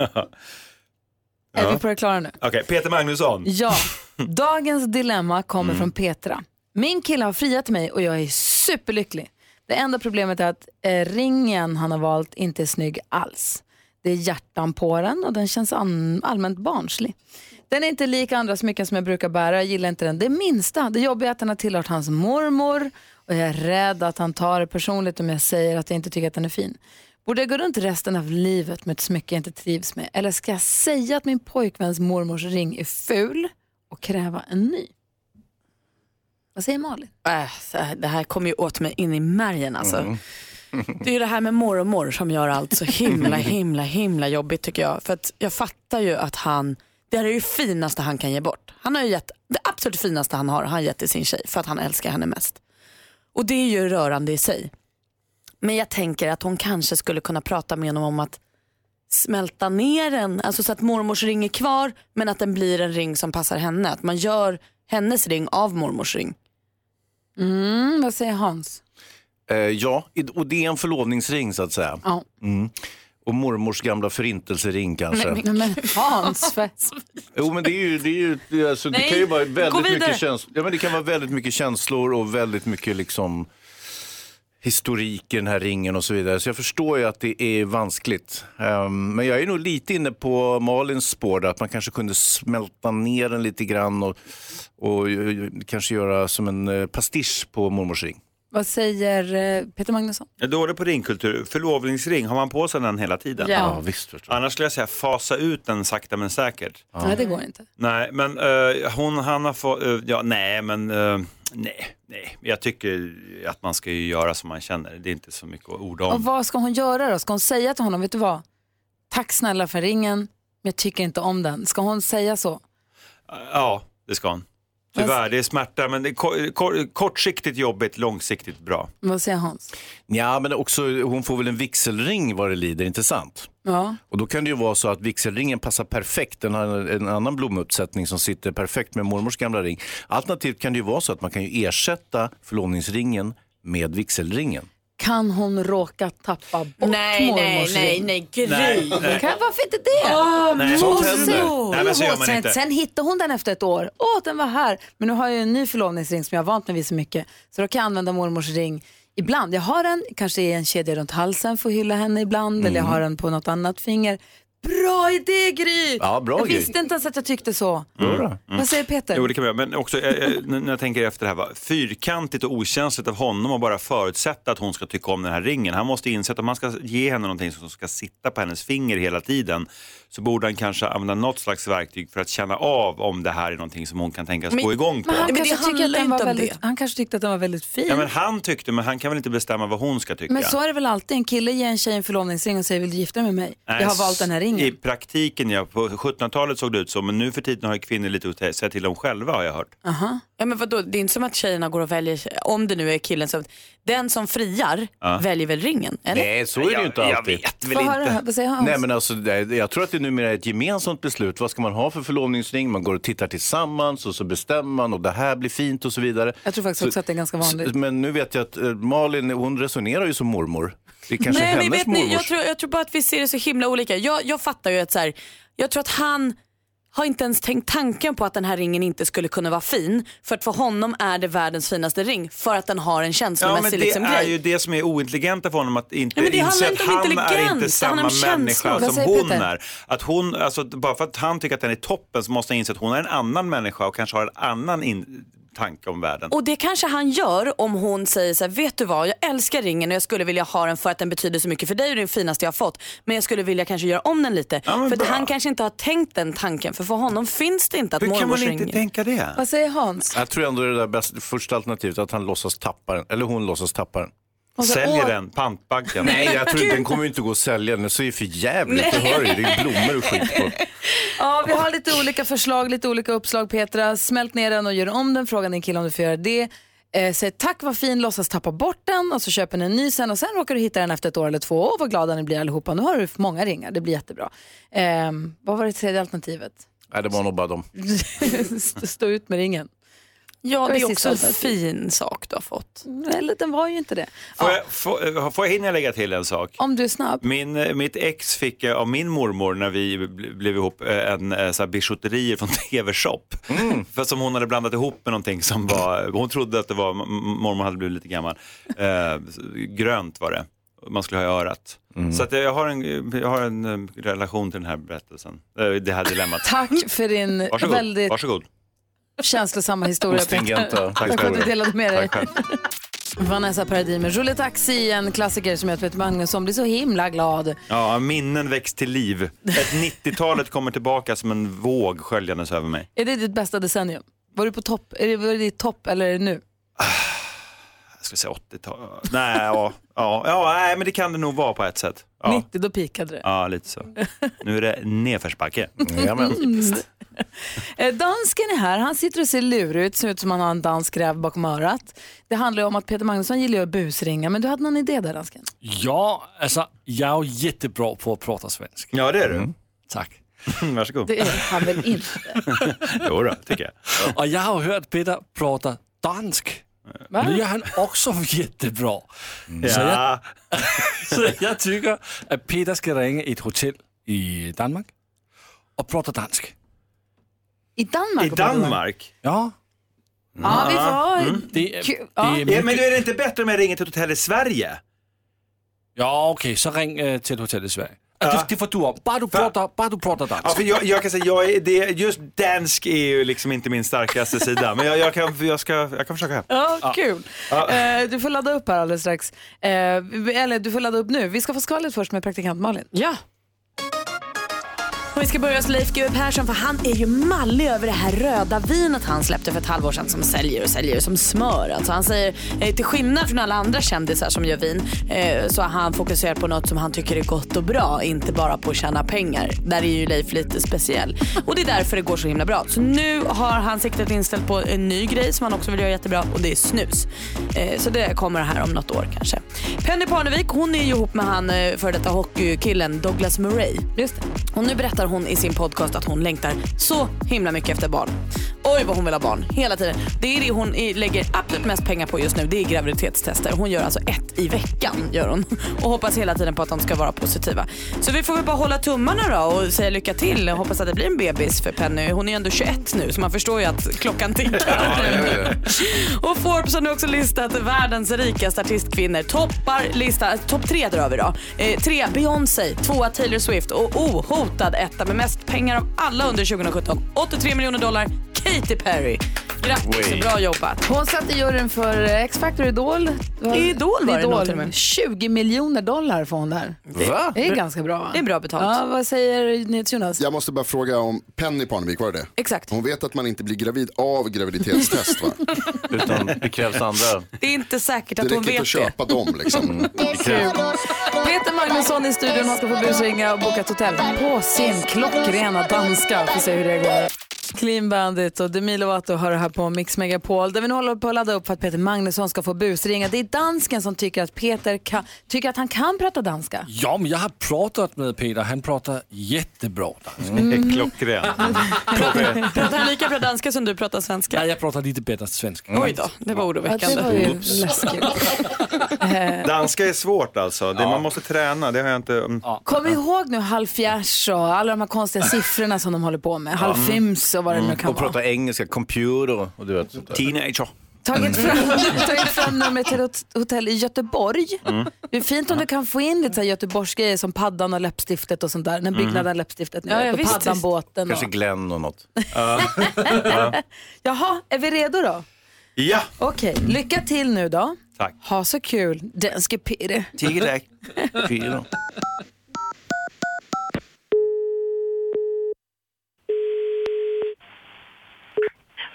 A: Är vi på det klara nu?
N: Okej, Peter Magnusson.
A: Ja, dagens dilemma kommer från Petra. Min kille har friat till mig och jag är superlycklig. Det enda problemet är att eh, ringen han har valt inte är snygg alls. Det är hjärtan på den och den känns an- allmänt barnslig. Den är inte lik andra smycken som jag brukar bära. Jag gillar inte den det minsta. Det jobbiga är att den har tillhört hans mormor och jag är rädd att han tar det personligt om jag säger att jag inte tycker att den är fin. Borde jag gå runt resten av livet med ett smycke jag inte trivs med? Eller ska jag säga att min pojkväns mormors ring är ful och kräva en ny? Vad säger Malin?
C: Äh, så här- det här kommer ju åt mig in i märgen alltså. Det är ju det här med mormor som gör allt så himla, himla, himla jobbigt tycker jag. För att jag fattar ju att han, det här är ju finaste han kan ge bort. Han har ju gett, det absolut finaste han har, har han gett till sin tjej för att han älskar henne mest. Och det är ju rörande i sig. Men jag tänker att hon kanske skulle kunna prata med honom om att smälta ner den, alltså så att mormors ring är kvar men att den blir en ring som passar henne. Att man gör hennes ring av mormors ring.
A: Mm, vad säger Hans?
D: Eh, ja, i- och det är en förlovningsring så att säga.
A: Ja.
D: Mm. Och mormors gamla förintelsering kanske.
A: Nej, men, men Hans, för...
D: Jo, men det är ju, det är ju det är alltså, det
A: Nej,
D: kan ju vara
A: gå
D: väldigt
A: vidare.
D: mycket känslor. Ja, men det kan vara väldigt mycket känslor och väldigt mycket liksom historik i den här ringen och så vidare. Så jag förstår ju att det är vanskligt. Ehm, men jag är nog lite inne på Malins spår där, att man kanske kunde smälta ner den lite grann och, och eh, kanske göra som en eh, pastisch på mormors ring.
A: vad säger eh, Peter Magnusson?
N: Jag är dålig på ringkultur. Förlovningsring, har man på sig den hela tiden?
A: Ja. Ja,
D: visst.
N: Annars skulle jag säga fasa ut den sakta men säkert.
A: Nej, det går inte.
N: Nej, men eh, hon, han har fått, eh, ja nej men eh, nej, nej. Jag tycker att man ska ju göra som man känner. Det är inte så mycket att orda
A: Och
N: om.
A: vad ska hon göra då? Ska hon säga till honom, vet du vad? Tack snälla för ringen, men jag tycker inte om den. Ska hon säga så?
N: Ja, det ska hon. Tyvärr, det är smärta men det är ko- ko- kortsiktigt jobbigt, långsiktigt bra.
A: Vad säger Hans?
D: Ja, men också, hon får väl en vigselring vad det lider, inte sant?
A: Ja.
D: Och då kan det ju vara så att vigselringen passar perfekt. Den har en annan blomuppsättning som sitter perfekt med mormors gamla ring. Alternativt kan det ju vara så att man kan ju ersätta förlovningsringen med vigselringen.
A: Kan hon råka tappa bort
C: Nej, nej,
A: mormors
C: nej,
A: ring?
C: nej, Gry.
A: Nej, nej. Kan- Varför inte det?
C: Åh,
A: Nej,
C: mormor.
A: sånt händer.
N: Nej, men så gör man
A: sen,
N: inte.
A: sen hittade hon den efter ett år. Åh, den var här. Men nu har jag ju en ny förlovningsring som jag har vant mig vid så mycket. Så då kan jag använda mormors ring ibland. Jag har den, kanske i en kedja runt halsen för att hylla henne ibland. Eller jag
N: Mm.
A: har den på något annat finger. Bra idé Gry!
N: Ja, bra,
A: jag
N: Gry.
A: visste inte ens att jag tyckte så.
N: Mm.
A: Vad säger Peter?
N: Jo, det kan man göra. Men också, eh, eh, n- när jag tänker efter det här, va? fyrkantigt och okänsligt av honom att bara förutsätta att hon ska tycka om den här ringen. Han måste inse att om man ska ge henne någonting som ska sitta på hennes finger hela tiden så borde han kanske använda något slags verktyg för att känna av om det här är någonting som hon kan tänkas gå igång på.
A: Men han,
C: Men det
A: kanske tycker att
C: handlar
A: den
C: inte
A: var
C: om
A: väldigt, han kanske tyckte att den var väldigt fin.
N: Ja, men han tyckte, men han kan väl inte bestämma vad hon ska tycka?
A: Men så är det väl alltid. En kille ger en tjej en förlovningsring och säger vill du gifta dig med mig?
N: Nej,
A: jag har valt den här ringen.
N: I praktiken, ja. På 1700-talet såg det ut så, men nu för tiden har ju kvinnor lite att säga till om själva har jag hört.
C: Ja, men vadå? Det är inte som att tjejerna går och väljer, om det nu är killen som, den som friar
D: Ja.
C: väljer väl ringen? Eller?
D: Nej, så är det ju inte
N: jag
D: alltid.
N: vet
A: väl Vad har inte. du- vad säger Hans?
D: Nej, men alltså, det- jag tror att det numera är ett gemensamt beslut. Vad ska man ha för förlovningsring? Man går och tittar tillsammans och så bestämmer man och det här blir fint och så vidare.
A: Jag tror faktiskt
D: så,
A: också att det är ganska vanligt.
D: s- Men nu vet jag att eh, Malin, hon resonerar ju som mormor. Det är kanske
C: Nej, men
D: hennes
C: vet ni, jag
D: mormors-
C: tror, jag tror bara att vi ser det så himla olika. Jag, jag fattar ju att så här, jag tror att han har inte ens tänkt tanken på att den här ringen inte skulle kunna vara fin. För att för honom är det världens finaste ring för att den har en
N: Ja,
C: känslomässig
N: men det
C: liksom,
N: är
C: grej.
N: ju det som är ointelligenta för honom, att inte
C: Ja, men det
N: inse
C: handlar
N: att
C: inte om
N: han är inte
C: intelligens, det handlar
N: samma
C: om känslor.
N: människa
C: Vad
N: som
C: säger
N: hon
C: Peter?
N: är. Att hon, alltså, bara för att han tycker att den är toppen så måste han inse att hon är en annan människa och kanske har en annan in- tanke om världen.
C: Och det kanske han gör om hon säger så här, vet du vad, jag älskar ringen och jag skulle vilja ha den för att den betyder så mycket för dig och det är den finaste jag har fått. Men jag skulle vilja kanske göra om den lite. för att han kanske inte har tänkt den tanken för för honom finns det inte att
D: Hur kan
C: mormors
D: man inte
C: ring-
N: tänka det?
A: Vad säger Hans?
D: Jag tror ändå det där bäst, första alternativet, att han låtsas tappa den, eller hon låtsas tappa den.
A: Och så- Säljer åh. den,
N: pantbanken.
D: Nej, jag tror den kommer ju inte gå att sälja, den så är ju för jävligt. Du hör ju, det är ju blommor och skit på.
A: Ja, vi har lite olika förslag, lite olika uppslag Petra. Smält ner den och gör om den. Fråga din kille om du får göra det. Eh, säg tack vad fin, låtsas tappa bort den och så köper ni en ny sen och sen råkar du hitta den efter ett år eller två. Åh vad glada ni blir allihopa. Nu har du många ringar, det blir jättebra. Eh, vad var det tredje alternativet?
D: Nej, det var nog bara dem.
A: St- Stå ut med ringen.
C: Ja, det är också en
A: alltså. fin
C: sak du har fått.
A: Eller den var ju inte det.
N: Får, jag, får, eh, får jag hinna lägga till en sak?
A: Om du är snabb.
N: Min, eh, mitt ex fick eh, av min mormor när vi bl- blev ihop eh, en eh, så här bijouterier från TV-shop.
A: Mm.
N: För som hon hade blandat ihop med någonting som var, hon trodde att det var, m- m- mormor hade blivit lite gammal, eh, s- grönt var det. man skulle ha i örat.
A: Mm.
N: Så att jag, har en, jag har en eh, relation till den här berättelsen, Eh, det här dilemmat.
A: Tack för din
N: Varsågod.
A: väldigt
N: Varsågod.
A: känslosamma historia.
N: Stringenta.
A: Tack för att du delade med dig.
N: Tack själv.
A: Vanessa Paradis med Roulette Taxi, en klassiker som jag vet att Magnus som blir så himla glad.
N: Ja, minnen väcks till liv. Ett 90-talet kommer tillbaka som en våg sköljandes över mig.
A: Är det ditt bästa decennium? Var du på topp? Är det, var det ditt topp eller är det nu?
N: Jag skulle säga 80-tal. Nej, ja, ja, ja, nej, men det kan det nog vara på ett sätt. Ja,
A: 90, då pikade det.
N: ja lite så. Nu är det nedförsbacke.
A: Mm. Eh, Dansken är här, han sitter och ser lurig ut, ser ut som han har en dansk räv bakom örat. Det handlar ju om att Peter Magnusson gillar ju att busringa, men du hade någon idé där dansken?
E: Ja, alltså jag är ju jättebra på att prata svenska. Mm.
N: Ja, det är du.
E: Tack.
N: Varsågod.
A: Det är han väl inte?
N: Jo då, tycker jag.
E: Och jag har hört Peter prata dansk.
A: Va?
E: Nu är han också jättebra. Så, jag,
N: Mm. Ja.
E: så jag tycker att Peter ska ringa ett hotell i Danmark och prata dansk.
A: I Danmark? och Portugal?
E: Ja.
A: Ja, vi får ha...
E: Mm. Det är-
A: kul-
E: det är
A: ja.
E: mycket-
N: men då är det inte bättre om jag ringer till ett hotell i Sverige?
E: Ja, okej, så ring eh, till ett hotell i Sverige. Ah, Det, det får du om. Bara du pratar, bara du pratar dansk.
N: Ja, för jag, jag kan säga, jag är, det, just dansk är ju liksom inte min starkaste sida, men jag, jag, kan, jag, ska, jag kan försöka.
A: Ja, kul.
N: Ja.
A: Eh, du får ladda upp här alldeles strax. Eh, eller du får ladda upp nu. Vi ska få skvallret först med praktikant Malin.
C: Ja. Och vi ska börja hos Leif GW Persson för han är ju mallig över det här röda vinet han släppte för ett halvår sedan som säljer och säljer som smör. Alltså han säger, eh, till skillnad från alla andra kändisar som gör vin, eh, så har han fokuserat på något som han tycker är gott och bra, inte bara på att tjäna pengar. Där är ju Leif lite speciell. Och det är därför det går så himla bra. Så nu har han siktet inställt på en ny grej som han också vill göra jättebra och det är snus. Eh, Så det kommer här om något år kanske. Penny Parnevik hon är ju ihop med han eh, före detta hockeykillen Douglas Murray. Just Och nu berättar hon i sin podcast att hon längtar så himla mycket efter barn. Oj vad hon vill ha barn hela tiden. Det är det hon i- lägger absolut mest pengar på just nu. Det är graviditetstester. Hon gör alltså ett i veckan gör hon. och hoppas hela tiden på att de ska vara positiva. Så vi får väl bara hålla tummarna då och säga lycka till. Jag hoppas att det blir en bebis för Penny. Hon är ju ändå 21 nu så man förstår ju att klockan tickar. Och Forbes har nu också listat världens rikaste artistkvinnor. Toppar listan, topp tre drar vi då. Eh, tre Beyoncé, tvåa Taylor Swift och ohotad etta med mest pengar av alla under 2017. 83 miljoner dollar, Katy Perry. Grattis,
A: Oj.
C: bra jobbat.
A: Hon satt i juryn för eh, X-Factor Idol.
C: Idol var det nog till och med.
A: 20 miljoner dollar får hon där.
J: Va?
A: Det är ganska bra va?
C: Det är bra betalt.
A: Ja, vad säger NyhetsJonas?
J: Jag måste bara fråga om Penny Parnevik, var det det?
C: Exakt.
J: Hon vet att man inte blir gravid av graviditetstest va?
D: Utan det krävs andra.
C: Det är inte säkert
J: Det
C: att hon
J: räcker inte
C: vet
J: att
C: det. Mm.
J: köpa dem liksom.
A: Peter Magnusson i studion, han ska få busringa och boka ett hotell på sin klockrena danska. Får se hur det går. Clean Bandit och Demi Lovato hör det här på Mix Megapol där vi nu håller på att ladda upp för att Peter Magnusson ska få busringa. Det är dansken som tycker att Peter kan, tycker att han kan prata danska.
E: Ja, men jag har pratat med Peter, han pratar jättebra danska.
A: Mm.
N: Klockren.
C: Pratar han lika bra danska som du pratar svenska?
E: Nej, jag pratar lite bättre svenska.
C: Oj då, det var oroväckande.
A: Ja, det var ju
C: Oops.
A: läskigt. Eh,
N: Danska är svårt alltså, det, man måste träna, det har jag inte... mm.
A: Kom ihåg nu halvfjerds och alla de här konstiga siffrorna som de håller på med. Halvfyms och vad det nu kan
D: Mm. Och
A: vara.
D: prata engelska, computer och du vet sånt där.
N: Teenager.
A: Tagit
C: Mm.
A: fram, tagit fram numret till ett hotell i Göteborg. Det är fint om du kan få in lite så här göteborgsgrejer som paddan och läppstiftet och sånt där. När byggnaden
D: Mm.
A: läppstiftet nu.
C: Ja, ja,
A: och
C: visst,
A: paddan
C: visst.
A: båten. Och...
D: Kanske Glenn och något.
A: Jaha, är vi redo då?
N: Ja.
A: Okej, lycka till nu då.
N: Tack.
A: Ha så kul, danske Peder.
N: Tigerdäck.
D: Fyra.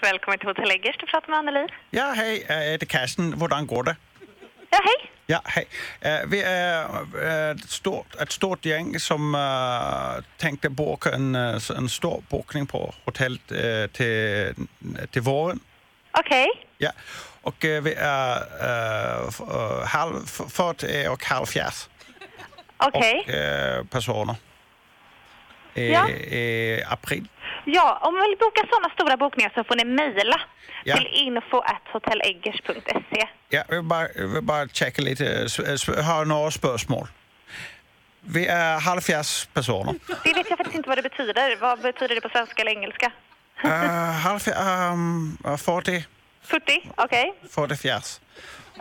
P: Välkommen till Hotell Eggers, du pratar med Anneli.
Q: Ja, hej, eh, det är Karsten. Hvordan går det?
P: Ja, hej.
Q: Ja, hej. Eh, Vi är eh, ett stort, ett stort gäng som eh, tänkte boka en, eh, s- en stor bokning på hotellet eh, till, till våren.
P: Okej.
Q: Ja. Och eh, vi är eh, f- eh, halv, f- 40 och halvfjerds.
P: Okej.
Q: Och, eh, personer. I,
P: Ja.
Q: I april.
P: Ja, om ni vill boka sådana stora bokningar så får ni mejla
Q: Ja.
P: till info.hotelleggers.se.
Q: Ja, jag vill bara, jag vill bara checka lite, s- s- har några spörsmål. Vi är halvfjerds personer.
P: Det vet jag faktiskt inte vad det
Q: Eh,
P: betyder. Vad betyder det på svenska eller engelska?
Q: ehm, Uh, halv... Um, 40.
P: 40, okej.
Q: 40.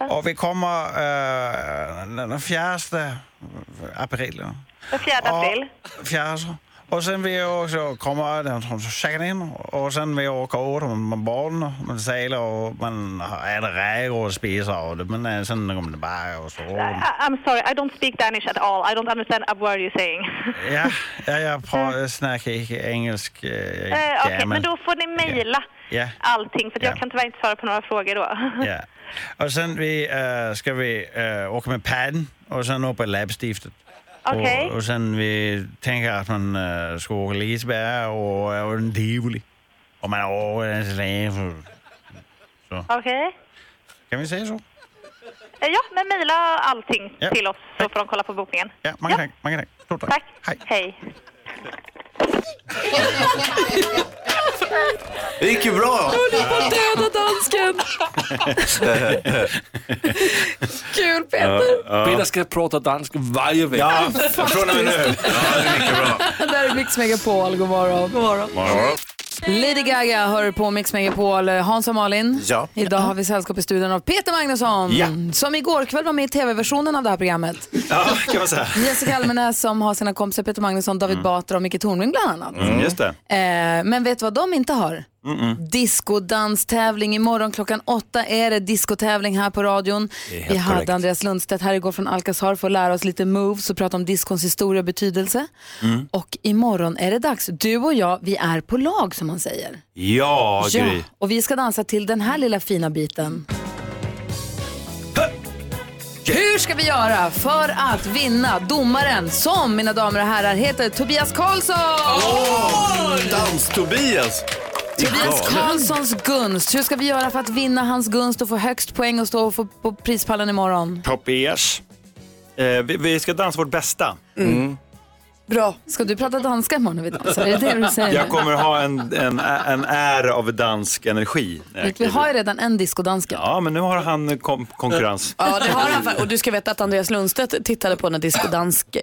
Q: Och vi kommer eh, den 4 april.
P: Den 4 april.
Q: Fjärde. Och sen vi också kommer den som checkar in och sen vi åker ut med barn, man seglar och man äter räkor och spiser och det, men eh, sen kommer det bara och så.
P: I- I'm sorry, I don't speak Danish at all. I don't understand a word you're saying.
Q: Ja, ja jag pratar, snackar inte engelsk. eh,
P: Eh,
Q: gärna.
P: okej, men då får ni mejla
Q: Ja.
P: allting för att jag
Q: Ja.
P: kan tyvärr inte svara på några frågor då.
Q: Ja. Och sen vi, eh, ska vi eh, åka med padden och sen upp i läppstiftet.
P: Okej.
Q: Och, och sen vi tänker att man eh, ska åka Liseberg och, och en tivoli. Och man øh, åker en släde.
P: Okej?
Q: Kan vi säga så?
P: Eh, ja, men mejla allting till oss så får de kolla på bokningen.
Q: Ja, många tack. Många tack. Stort tack. Hej.
P: Hej.
D: Det gick ju bra.
A: Håller på att döda dansken! Kul Peter!
E: Peter ska prata dansk varje vecka.
A: Ja, från och med nu. Där är Mix Megapol, god morgon. God morgon. Lady Gaga hör på Mix Megapol. Hans och Malin,
D: Ja.
A: idag har vi sällskap i studion av Peter Magnusson
N: Ja.
A: som igår kväll var med i tv-versionen av det här programmet.
N: Ja, kan man säga.
A: Jessica Almenäs som har sina kompisar Peter Magnusson,
H: Mm.
A: David Batra och Micke Tornving bland annat.
N: Mm, just det.
A: Eh, men vet du vad de inte har?
N: Mm-mm.
A: Diskodanstävling. Imorgon klockan åtta är det diskotävling här på radion.
H: Det är helt
A: Vi hade
H: korrekt.
A: Andreas Lundstedt här igår från Alcazar för att lära oss lite moves och prata om diskons historia och betydelse.
N: Mm.
A: Och imorgon är det dags. Du och jag, vi är på lag som man säger.
N: Ja, Gry.
A: Och vi ska dansa till den här lilla fina biten. Hur ska vi göra för att vinna domaren som, mina damer och herrar, heter Tobias Karlsson?
D: Dans-Tobias.
A: Tobias Karlssons gunst. Hur ska vi göra för att vinna hans gunst och få högst poäng och stå och få på prispallen imorgon?
N: Tobias. Eh, vi, vi ska dansa vårt bästa.
A: Bra. Ska du prata danska imorgon när vi dansar? Är det det du säger?
N: Jag kommer ha en, en, en är av dansk energi.
A: Vi har ju redan en diskodanska.
N: Ja, men nu har han kom- konkurrens.
C: Ja, det har han. fa- Och du ska veta att Andreas Lundstedt tittade på när Disco Dansk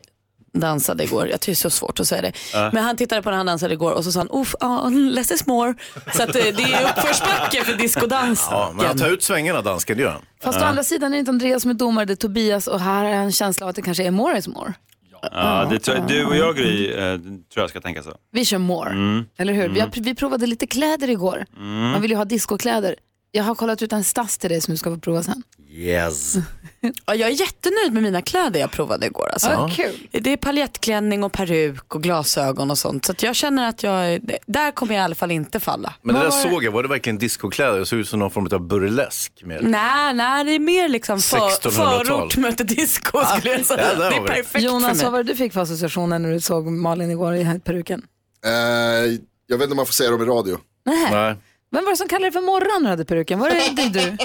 C: dansade igår. Jag tycker det är så svårt att säga det.
N: Ja.
C: Men han tittade på när han dansade igår och så sa han, oof, ah, less is more. Så att, eh, det är uppförsbacke för discodansen.
D: Ja, men han tar ut svängarna, dansken, det gör han.
A: Fast å andra sidan är det inte Andreas som är domare, det är Tobias och här har jag en känsla av att det kanske är more is more.
N: Ja, det tror jag, du och jag, Gry, eh, tror jag ska tänka så.
A: Vi kör more,
N: Mm.
A: eller hur? Vi, har,
N: Mm.
A: vi provade lite kläder igår.
N: Mm.
A: Man vill ju ha discokläder. Jag har kollat ut en stass till dig som du ska få prova sen.
N: Yes.
C: Ja, jag är jättenöjd med mina kläder jag provade igår. Alltså.
A: Ja, kul.
C: Det är paljettklänning och peruk och glasögon och sånt. Så att jag känner att jag, där kommer jag i alla fall inte falla.
D: Men det där
C: Vad var
D: såg jag, var det verkligen discokläder? Det såg ut som någon form av burlesk. Med.
C: Nej, nej, det är mer liksom för,
D: 1600-tal.
C: förort möter disco skulle jag
D: ja,
C: säga.
D: där
C: det
D: har vi
C: är
D: det.
C: perfekt för
A: Jonas,
C: mig.
A: vad var det du fick för associationer när du såg Malin igår i peruken?
J: Eh, jag vet inte om man får säga dem i radio.
A: Nej. Vem var det som kallade det för morran när du hade peruken? Var det det du?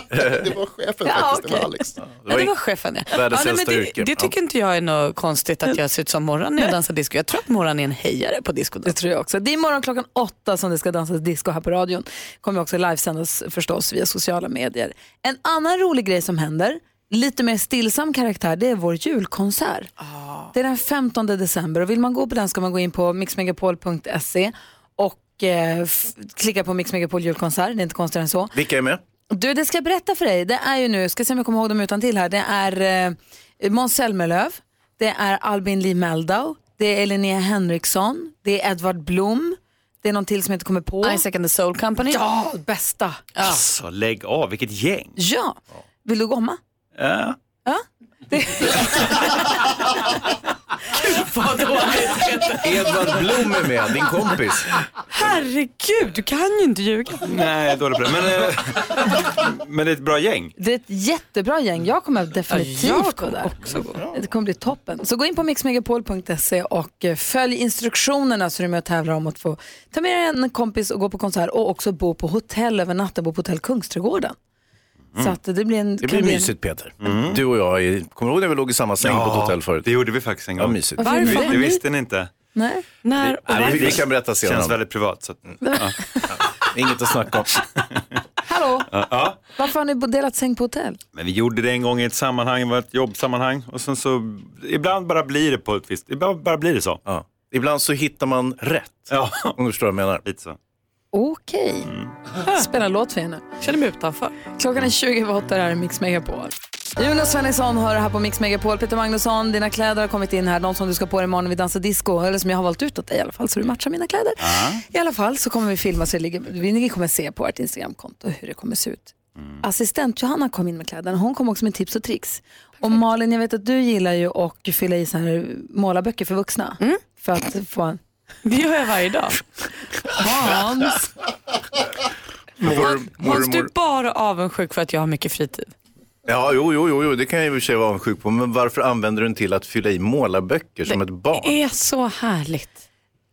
J: det var chefen
A: Ja,
J: faktiskt, det
A: okej.
J: var Alex.
C: Ja, det var chefen ja. ja, nej,
J: Världens
C: men
J: äldsta
C: det,
J: yrke.
C: det tycker inte jag är något konstigt att jag ser ut som Morran när jag dansar disco. Jag tror att Morran är en hejare på disco. Det
A: tror jag också. Det är imorgon klockan åtta som det ska dansas disco här på radion. Kommer också livesändas förstås via sociala medier. En annan rolig grej som händer, lite mer stillsam karaktär, det är vår julkonsert.
C: Ah.
A: Det är den 15 december och vill man gå på den ska man gå in på mixmegapol.se och eh, f- klicka på Mix Megapol julkonsert, det är inte konstigare än så.
D: Vilka är med?
A: Du, det ska jag berätta för dig. Det är ju nu, ska se om jag kommer ihåg dem utan till här. Det är eh, Måns Zelmerlöw, det är Albin Lee Meldau, det är Linnea Henriksson, det är Edvard Blom, det är någon till som jag inte kommer på.
C: Isaac and the Soul Company.
A: Ja, bästa. Ja.
N: Alltså, lägg av, vilket gäng.
A: ja. Vill du komma?
N: Ja.
C: Vad dåligt.
D: Edvard Blom är med, din kompis.
C: Herregud, du kan ju inte ljuga.
N: Nej, dålig på det. Men, eh, men det är ett bra gäng.
A: Det är ett jättebra gäng. Jag kommer definitivt
N: Ja, jag
A: gå där. Det kommer bli toppen. Så gå in på mixmegapol.se och eh, följ instruktionerna så du är med och tävlar om att få ta med dig en kompis och gå på konsert och också bo på hotell över natten, bo på hotell Kungsträdgården. Så att det blir en...
D: Mm. Det
A: kan
D: blir
A: bli en-
D: mysigt Peter. Mm. Du och jag, är- kommer du ihåg när vi låg i samma säng på ett hotell förut? Det
N: gjorde vi faktiskt en gång.
D: Ja, mysigt.
A: Varför?
N: Det-
A: Varför?
N: Det visste ni inte.
A: Nej.
C: När
D: Nej, vi- vi kan berätta senare.
N: Känns väldigt privat. Så att, ja.
D: Inget att snacka om.
A: Hallå,
N: ja.
A: varför har ni delat säng på hotell?
N: Men vi gjorde det en gång i ett sammanhang, det var ett jobbsammanhang. Och sen så, ibland bara blir det på ett visst, ibland bara blir det så.
D: Ibland så hittar man rätt.
N: Ja.
D: Om du förstår vad jag menar.
N: Lite så.
A: Okej.
D: Mm.
A: Spela en låt för er nu.
R: känner mig utanför.
A: Klockan är 20 över åtta, det här är Mix Megapol. Jonas Svensson hör här på Mix Megapol. Peter Magnusson, dina kläder har kommit in här. De som du ska på dig imorgon när vi dansar disco. Eller som jag har valt ut åt dig i alla fall, så du matchar mina kläder. I alla fall så kommer vi filma så det ligger, vi kommer se på vårt Instagramkonto hur det kommer se ut.
J: Mm.
A: Assistent Johanna kom in med kläderna. Hon kom också med tips och tricks. Och Malin, jag vet att du gillar ju att fylla i så här målarböcker för vuxna.
R: Mm.
A: För att få en...
R: Det gör jag varje dag.
A: Hans!
R: Hans, du är bara avundsjuk för att jag har mycket fritid.
D: Ja, jo, jo, jo, jo, det kan jag i och för sig vara avundsjuk på. Men varför använder du den till att fylla i målarböcker som ett barn?
R: Det är så härligt.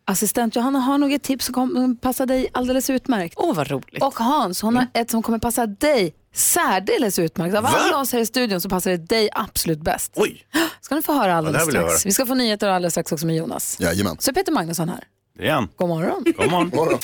A: Assistent Johanna har något tips som kommer passa dig alldeles utmärkt.
R: Åh, vad roligt. Mm.
A: Och Hans, hon har ett som kommer passa dig särdeles utmärkt. Av alla oss här i studion så passar det dig absolut bäst.
D: Oj!
A: Ska ni få höra
J: Ja, det
A: alldeles
J: här vill jag
A: strax.
J: höra.
A: Vi ska få nyheter alldeles strax också med Jonas.
J: Jajamän.
A: Så är Peter Magnusson här.
N: Det är han.
A: God morgon.
N: Kom on.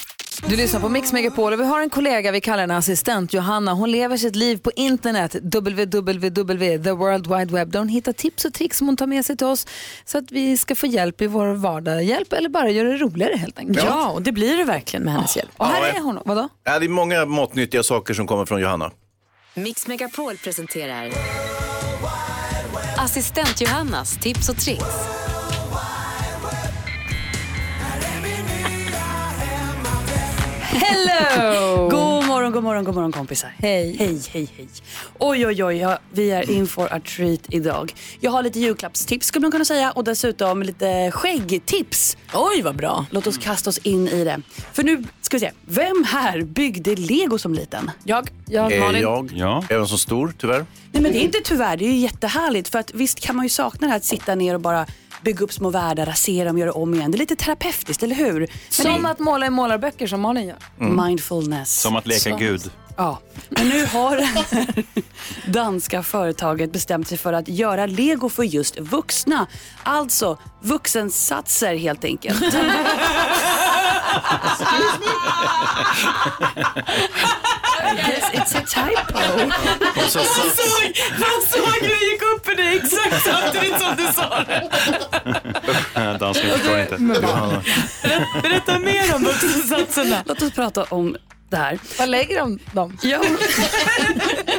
A: Du lyssnar på Mix Megapol och vi har en kollega, vi kallar henne assistent Johanna. Hon lever sitt liv på internet, www, the world wide web, där hon hittar tips och tricks som hon tar med sig till oss så att vi ska få hjälp i vår vardag. Hjälp eller bara göra det roligare helt enkelt.
D: Ja.
R: och det blir det verkligen med hennes hjälp.
A: Och här
D: Ja,
A: är hon, vadå?
D: Ja, det är många måttnyttiga saker som kommer från Johanna.
B: Mix Megapol presenterar Assistent Johannas tips och tricks.
R: Hello! god morgon, god morgon, god morgon kompisar.
A: Hej.
R: Hej, hej, hej. Oj, oj, oj, ja, vi är in for a treat idag. Jag har lite julklappstips skulle man kunna säga och dessutom lite skäggtips. Oj, vad bra. Låt oss kasta oss in i det. För nu ska vi se, vem här byggde lego som liten? Jag. Jag,
D: Eh, jag, även som stor tyvärr.
R: Nej men det är inte tyvärr, det är ju jättehärligt. För att visst kan man ju sakna det här att sitta ner och bara bygga upp små världar, rasera dem, göra om igen. Det är lite terapeutiskt, eller hur?
A: Som att måla i målarböcker som Malin gör.
R: Mm. Mindfulness.
N: Som att leka
R: Så.
N: gud.
R: Ja, men nu har det här danska företaget bestämt sig för att göra lego för just vuxna. Alltså vuxensatser helt enkelt. Yes, it's a typo.
F: Och så- Jag såg-
R: jag såg hur jag gick upp för dig exakt samtidigt som du sa det.
N: Dansken förstår inte. Johanna.
R: Berätta mer om vuxensatserna. Låt oss prata om det här.
A: Var lägger de dem?
R: Ja.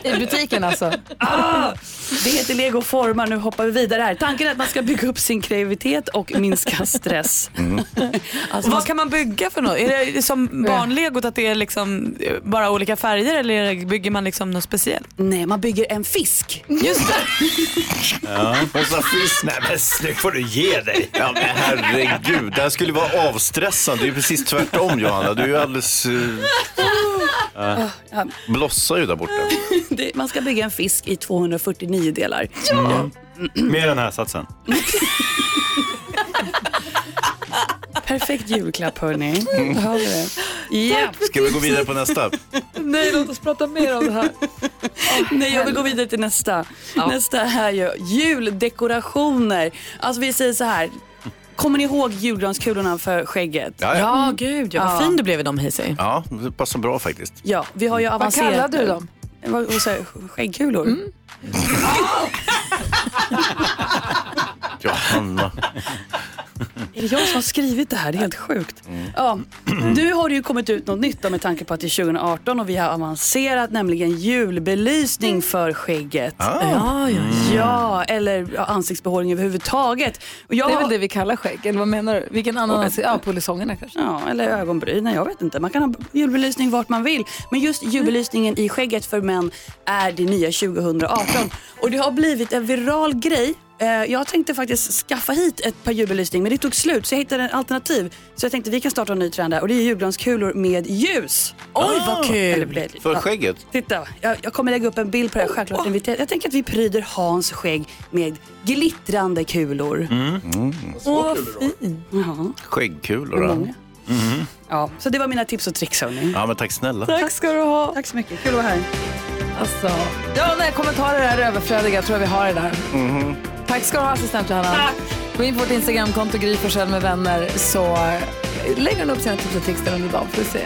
A: I butiken alltså?
R: Ah, det heter Lego formar, nu hoppar vi vidare här. Tanken är att man ska bygga upp sin kreativitet och minska stress.
A: Mm.
R: Vad kan man bygga för något? Är det som barnlegot att det är liksom bara olika färger eller bygger man liksom något speciellt? Nej, man bygger en fisk. Just det.
N: Ja.
D: Och så fisk.
N: Nej men snyggt får du ge dig.
D: Ja, men Eh, herregud, det här skulle vara avstressande. Det är precis tvärtom Johanna. Du är ju alldeles... Eh, eh,
R: Ja.
D: blossar ju där borta.
R: Det- man ska bygga en fisk i 249 delar.
N: Mm. Med den här satsen.
R: Perfekt julklapp hörni.
D: Mm.
R: Hör vi det? Ja.
D: Ska vi gå vidare på nästa?
R: Nej, låt oss prata mer om det här. Nej, jag vill gå vidare till nästa. Nästa är ju juldekorationer. Alltså vi säger så här. Kommer ni ihåg julgranskulorna för skägget?
D: Ja, ja. Ja,
R: gud.
D: ja, vad fin
R: du blev i dem, Hayesy.
D: Ja, det passar bra faktiskt.
R: Ja, vi har ju
A: Vad
R: avancerat.
A: kallar du dem?
R: Vad, vad säger jag? Skäggkulor?
D: Johanna.
R: Är det jag som har skrivit det här? Det är helt sjukt. Ja, nu har det ju kommit ut något nytt då, med tanke på att det är 2018 och vi har avancerat nämligen julbelysning för skägget.
F: Ah.
R: Ja, ja, ja, eller ja, ansiktsbehåring överhuvudtaget. Och jag...
A: Det är väl det vi kallar skägg, eller vad menar du? Vilken annan
R: Och-
A: ansikte? Ja, polisongerna kanske.
R: Mm. Ja, eller ögonbrynen. Jag vet inte. Man kan ha julbelysning vart man vill. Men just julbelysningen i skägget för män är det nya 2018. Och det har blivit en viral grej. Eh, Jag tänkte faktiskt skaffa hit ett par julbelysning, men det tog slut så jag hittade en alternativ. Så jag tänkte vi kan starta en ny trend där och det är julgranskulor med ljus. Ah!
D: Oj, vad kul.
R: Eller blir-
D: För
R: ja.
D: skägget?
R: Titta, jag, jag kommer lägga upp en bild på det här. Självklart inviterar. Jag tänker att vi pryder Hans skägg med glittrande kulor.
D: Mm.
R: Åh, vad fin. Ja.
D: Skäggkulor.
C: Mm.
D: ja. Mhm.
R: Ja, så det var mina tips och tricks hörni.
D: Ja, men tack snälla.
R: ska du ha. Tack så mycket, kul att vara här.
A: Alltså, ja, nej, kommentarer är överflödiga. Jag tror jag vi har det där.
D: Mhm.
A: Tack ska du ha, assistent Johanna. Gå in på vårt Instagramkonto, Gry Forssell med vänner, så lägger hon upp sina tips och tricks där under dagen, får vi se.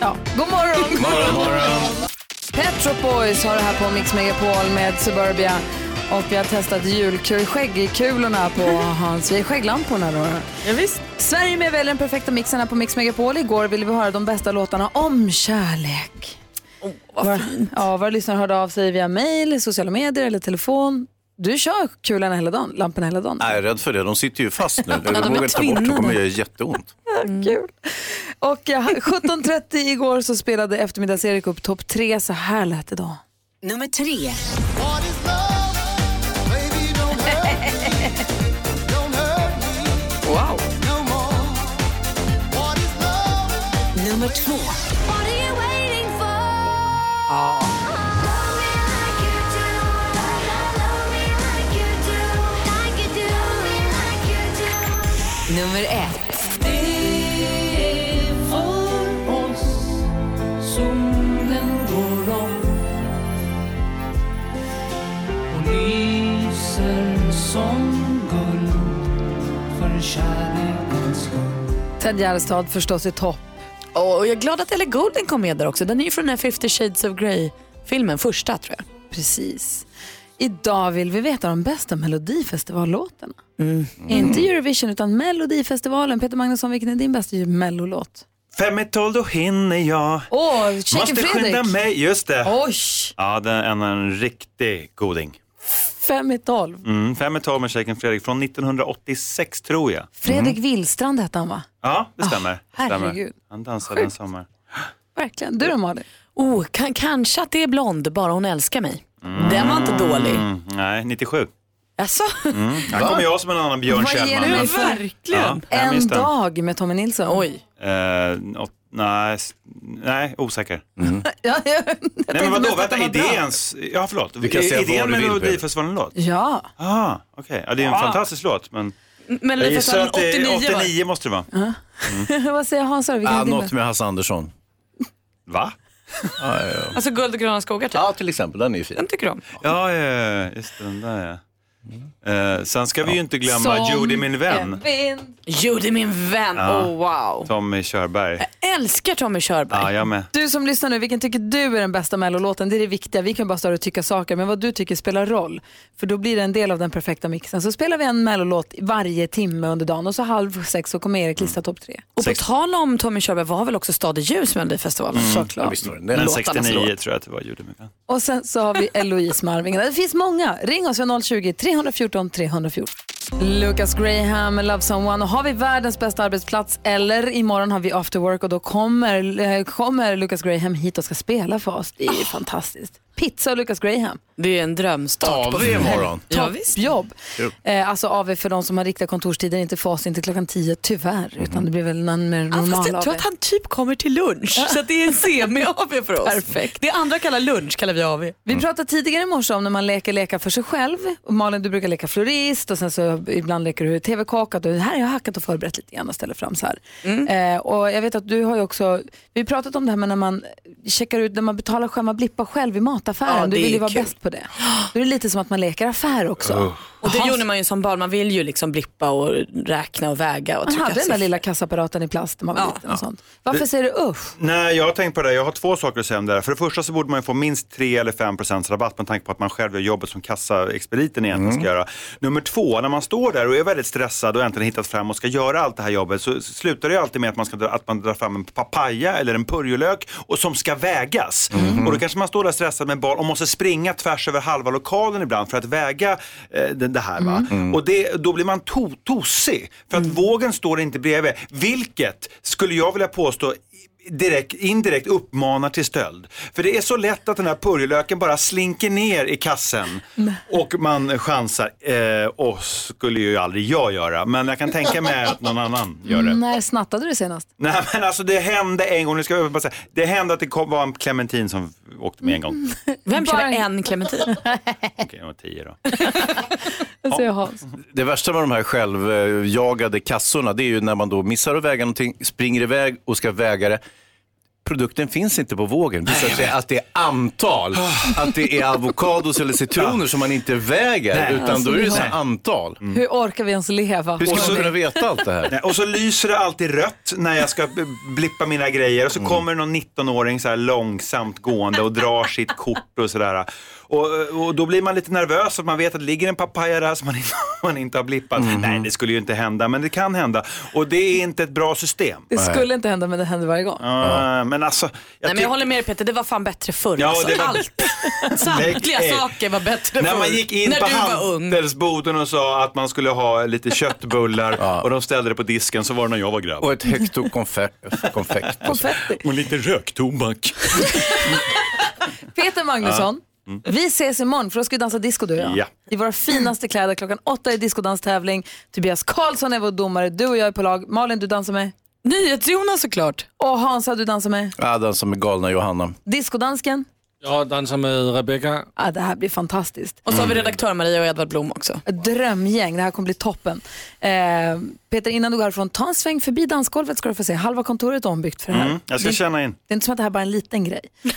A: Ja, god morgon!
F: morgon,
A: Pet Shop Boys har det här på Mix Megapol med Suburbia. Och vi har testat julkul, skäggkulorna på hans, vi skägglamporna då.
G: Ja, visst.
A: Sverige är med väl den perfekta mixen här på Mix Megapol. Igår ville vi höra de bästa låtarna om kärlek. Oh, vad fint. Ja, våra lyssnare hörde av sig via mail, sociala medier eller telefon. Du kör kulorna hela dagen, lamporna hela dagen.
D: Nej, jag är rädd för det. De sitter ju fast nu.
A: Ja,
D: Jag
A: de är
D: vågar inte ta bort, det
A: tvinnade.
D: kommer att göra jätteont.
A: Kul. Och ja, 17.30 igår så spelade eftermiddags-Erik upp topp tre. Så här lät det då.
B: Nummer tre.
G: Wow.
B: Nummer två. Nummer ett.
A: Ted Gärdestad förstås i topp.
C: Åh, och jag är glad att Ellie Goulding kom med där också. Den är ju från den här 50 shades of Grey-filmen, första tror jag.
A: Precis. Idag vill vi veta de bästa Melodifestivallåtarna.
C: Mm.
A: Inte Eurovision utan Melodifestivalen. Peter Magnusson, vilken är din bästa mellolåt?
N: Fem i tolv, då hinner jag.
A: Åh, oh,
N: Måste
A: Shaken
N: skynda
A: Fredrik!
N: mig. Just det.
A: Oj!
N: Ja, den är en, en riktig goding.
A: Fem i tolv.
N: Mm, fem i tolv med Shaken Fredrik från 1986 tror jag.
A: Fredrik
N: Mm.
A: Willstrand hette han va?
N: Ja, det stämmer. Det stämmer.
A: Ah, herregud.
N: Han dansade en sommar.
A: Verkligen. Du då Malin?
C: Oh, kan, kanske att det är blond, bara hon älskar mig. Den var inte dålig.
N: Mm, nej, 97.
C: Alltså?
N: Mm. Här
C: Va?
N: kommer jag som en annan Björn
A: Vad ger
N: Kjellman.
A: du
N: men-
A: för?
N: Ja, jag minns
A: en
N: den.
A: dag med Tommy Nilsson. Oj.
N: Eh, åt- nej, s- nej,
D: Mm.
N: osäker.
A: Ja, jag,
N: Nej, men vadå, vänta, idéns... Ja, förlåt.
D: Du kan säga
N: idén
D: vad du
N: med
D: vill, Peter.
N: Melodifestivalen-låt?
A: Ja.
N: Ah, okej. Ja, det är en
A: Ja.
N: fantastisk låt, men...
A: Men
N: jag gissar att det är Mm.
A: 89, va?
N: 89 måste det vara.
A: Vad säger Hans? Vilken
D: Ah,
A: är din
D: något
A: bästa?
D: med Hasse Andersson.
N: Va?
D: Ja, ja, ja.
C: Alltså guld och gröna skogar typ?
D: Ja, till exempel. Den är ju fin. Den
C: tycker du om?
N: Ja, ja, ja, just den där ja. Eh, sen ska vi ju inte glömma
C: Som
N: Judy min
C: en
N: vän.
A: vind.
C: Judy min vän,
N: Ja.
C: oh wow. Eh,
N: Tommy Körberg.
C: Älskar Tommy Körberg.
N: Ja, jag med.
A: Du som lyssnar nu, vilken tycker du är den bästa mellolåten? Det är det viktiga. Vi kan bara stå och tycka saker, men vad du tycker spelar roll. För då blir det en del av den perfekta mixen. Så spelar vi en mellolåt varje timme under dagen och så halv sex så kommer Erik lista topp tre.
C: Och på tal om Tommy Körberg var väl också Stad i ljus med Melodifestivalen?
N: Mm.
A: Såklart.
N: Ja, visst var det. Men
C: Låtarnas
N: 69
C: låt.
N: tror jag att det var Judy min vän.
A: Och sen så har vi Eloise Marvingen. Det finns många. Ring oss vid 020-314 314. Lucas Graham, Love Someone. Och har vi världens bästa arbetsplats eller imorgon har vi after work och då kommer, eh, kommer Lucas Graham hit och ska spela för oss. Det är
C: Ah.
A: ju fantastiskt. Pizza och Lucas Graham.
C: Det är en drömstart.
A: på-
C: på- Ja, visst.
A: Toppjobb.
C: Kul.
A: Eh, alltså AV för de som har riktiga kontorstider, inte fas, inte klockan 10 tyvärr. Utan det blir väl någon mer
C: Ja,
A: normal
C: fast jag tror
A: AV.
C: att han typ kommer till lunch. Så att det är en semi-AV för oss.
A: Perfekt.
C: Det andra kallar lunch kallar vi AV.
A: Vi pratade tidigare i morse om när man leker lekar för sig själv. Och Malin, du brukar leka florist och sen så ibland leker du tv-kock. Och du, här har jag hackat och förberett lite grann och ställer fram så här.
C: Mm.
A: Eh, och jag vet att du har ju också, vi har pratat om det här med när man checkar ut, när man betalar själv, blippa själv i mataffären.
C: Ja,
A: du
C: det
A: vill ju
C: är
A: vara
C: kul.
A: bäst på det. Då är det lite som att man leker affär också.
N: Oh.
C: Och det gjorde man ju som barn. Man vill ju liksom blippa och räkna och väga. Och
A: Man
C: trycka
A: hade den där
C: sig.
A: lilla kassaapparaten i plast när man var liten och sånt. Varför
N: Det-
A: säger du usch?
N: Nej, jag har tänkt på det. Jag har två saker att säga om det här. För det första så borde man ju få minst 3 eller 5 procents rabatt med tanke på att man själv gör jobbet som kassaexpediten egentligen ska göra. Nummer två, när man står där och är väldigt stressad och äntligen hittat fram och ska göra allt det här jobbet så slutar det ju alltid med att man, ska dra, att man drar fram en papaya eller en purjolök och som ska vägas. Och då kanske man står där stressad med barn och måste springa tvärs över halva lokalen ibland för att väga eh, det, det här. Va? Och det, då blir man to- tosig för att vågen står inte bredvid. Vilket skulle jag vilja påstå direkt, indirekt uppmanar till stöld. För det är så lätt att den här purjolöken bara slinker ner i kassen och man chansar. Eh, och skulle ju aldrig jag göra, men jag kan tänka mig att någon annan gör det.
A: När snattade du senast?
N: Nej men alltså det hände en gång, nu ska jag bara säga, det hände att det kom, var en clementin som åkte med en gång.
D: Mm.
C: Vem
A: Bara-
C: köper en clementin?
N: Okej, jag var tio då.
A: Vad säger Hans?
D: Det värsta med de här självjagade kassorna det är ju när man då missar att väga någonting, springer iväg och ska väga det. Produkten finns inte på vågen. Det visar sig att det är antal.
N: Ah.
D: Att det är avokados eller citroner som man inte väger,
N: Nej.
D: utan
N: Alltså,
D: då är
N: vi
D: det
N: har-
D: så här antal.
N: Mm.
A: Hur orkar vi ens leva?
D: Hur ska
A: Och
D: man
A: så-
D: kunna veta allt det här?
N: Nej, och så lyser det alltid rött när jag ska b- blippa mina
D: Mm.
N: grejer och så kommer någon 19-åring så här långsamt gående och drar sitt kort och sådär. Och, och då blir man lite nervös att man vet att det ligger en papaya där som man inte, man inte har blippat.
D: Mm.
N: Nej, det skulle ju inte hända, men det kan hända. Och det är inte ett bra system.
A: Det skulle inte hända men det händer varje gång.
N: Ja, men alltså, jag
R: Nej men jag håller med dig Peter, det var fan bättre förr.
N: Ja,
R: alltså.
N: det var-
R: Allt. Samtliga
N: Nej.
R: saker var bättre
N: När
R: förr.
N: man gick in
R: När
N: på
R: du var ung.
N: handelsboden och sa att man skulle ha lite köttbullar och de ställde det på disken så var det när jag var grabb.
D: Och ett hekto konfekt.
N: och lite röktobak.
A: Peter Magnusson, vi ses imorgon för då ska vi dansa disco du och jag.
N: Mm. Ja.
A: I våra finaste kläder, klockan åtta är discodanstävling. Tobias Karlsson är vår domare, du och jag är på lag. Malin, du dansar med? NyhetsJonas såklart. Och Hansa, du dansar med?
D: Ja, den som är galna Johanna.
A: Discodansken?
E: Jag dansar med Rebecca.
A: Ah, det här blir fantastiskt.
R: Och så har vi redaktör Maria och Edvard Blom också.
A: Ett drömgäng, det här kommer bli toppen. Eh, Peter, innan du går härifrån, ta en sväng förbi dansgolvet ska du få se. Halva kontoret är ombyggt för det här.
N: Mm, jag ska
A: det,
N: känna in.
A: det är inte som att det här bara är en liten grej.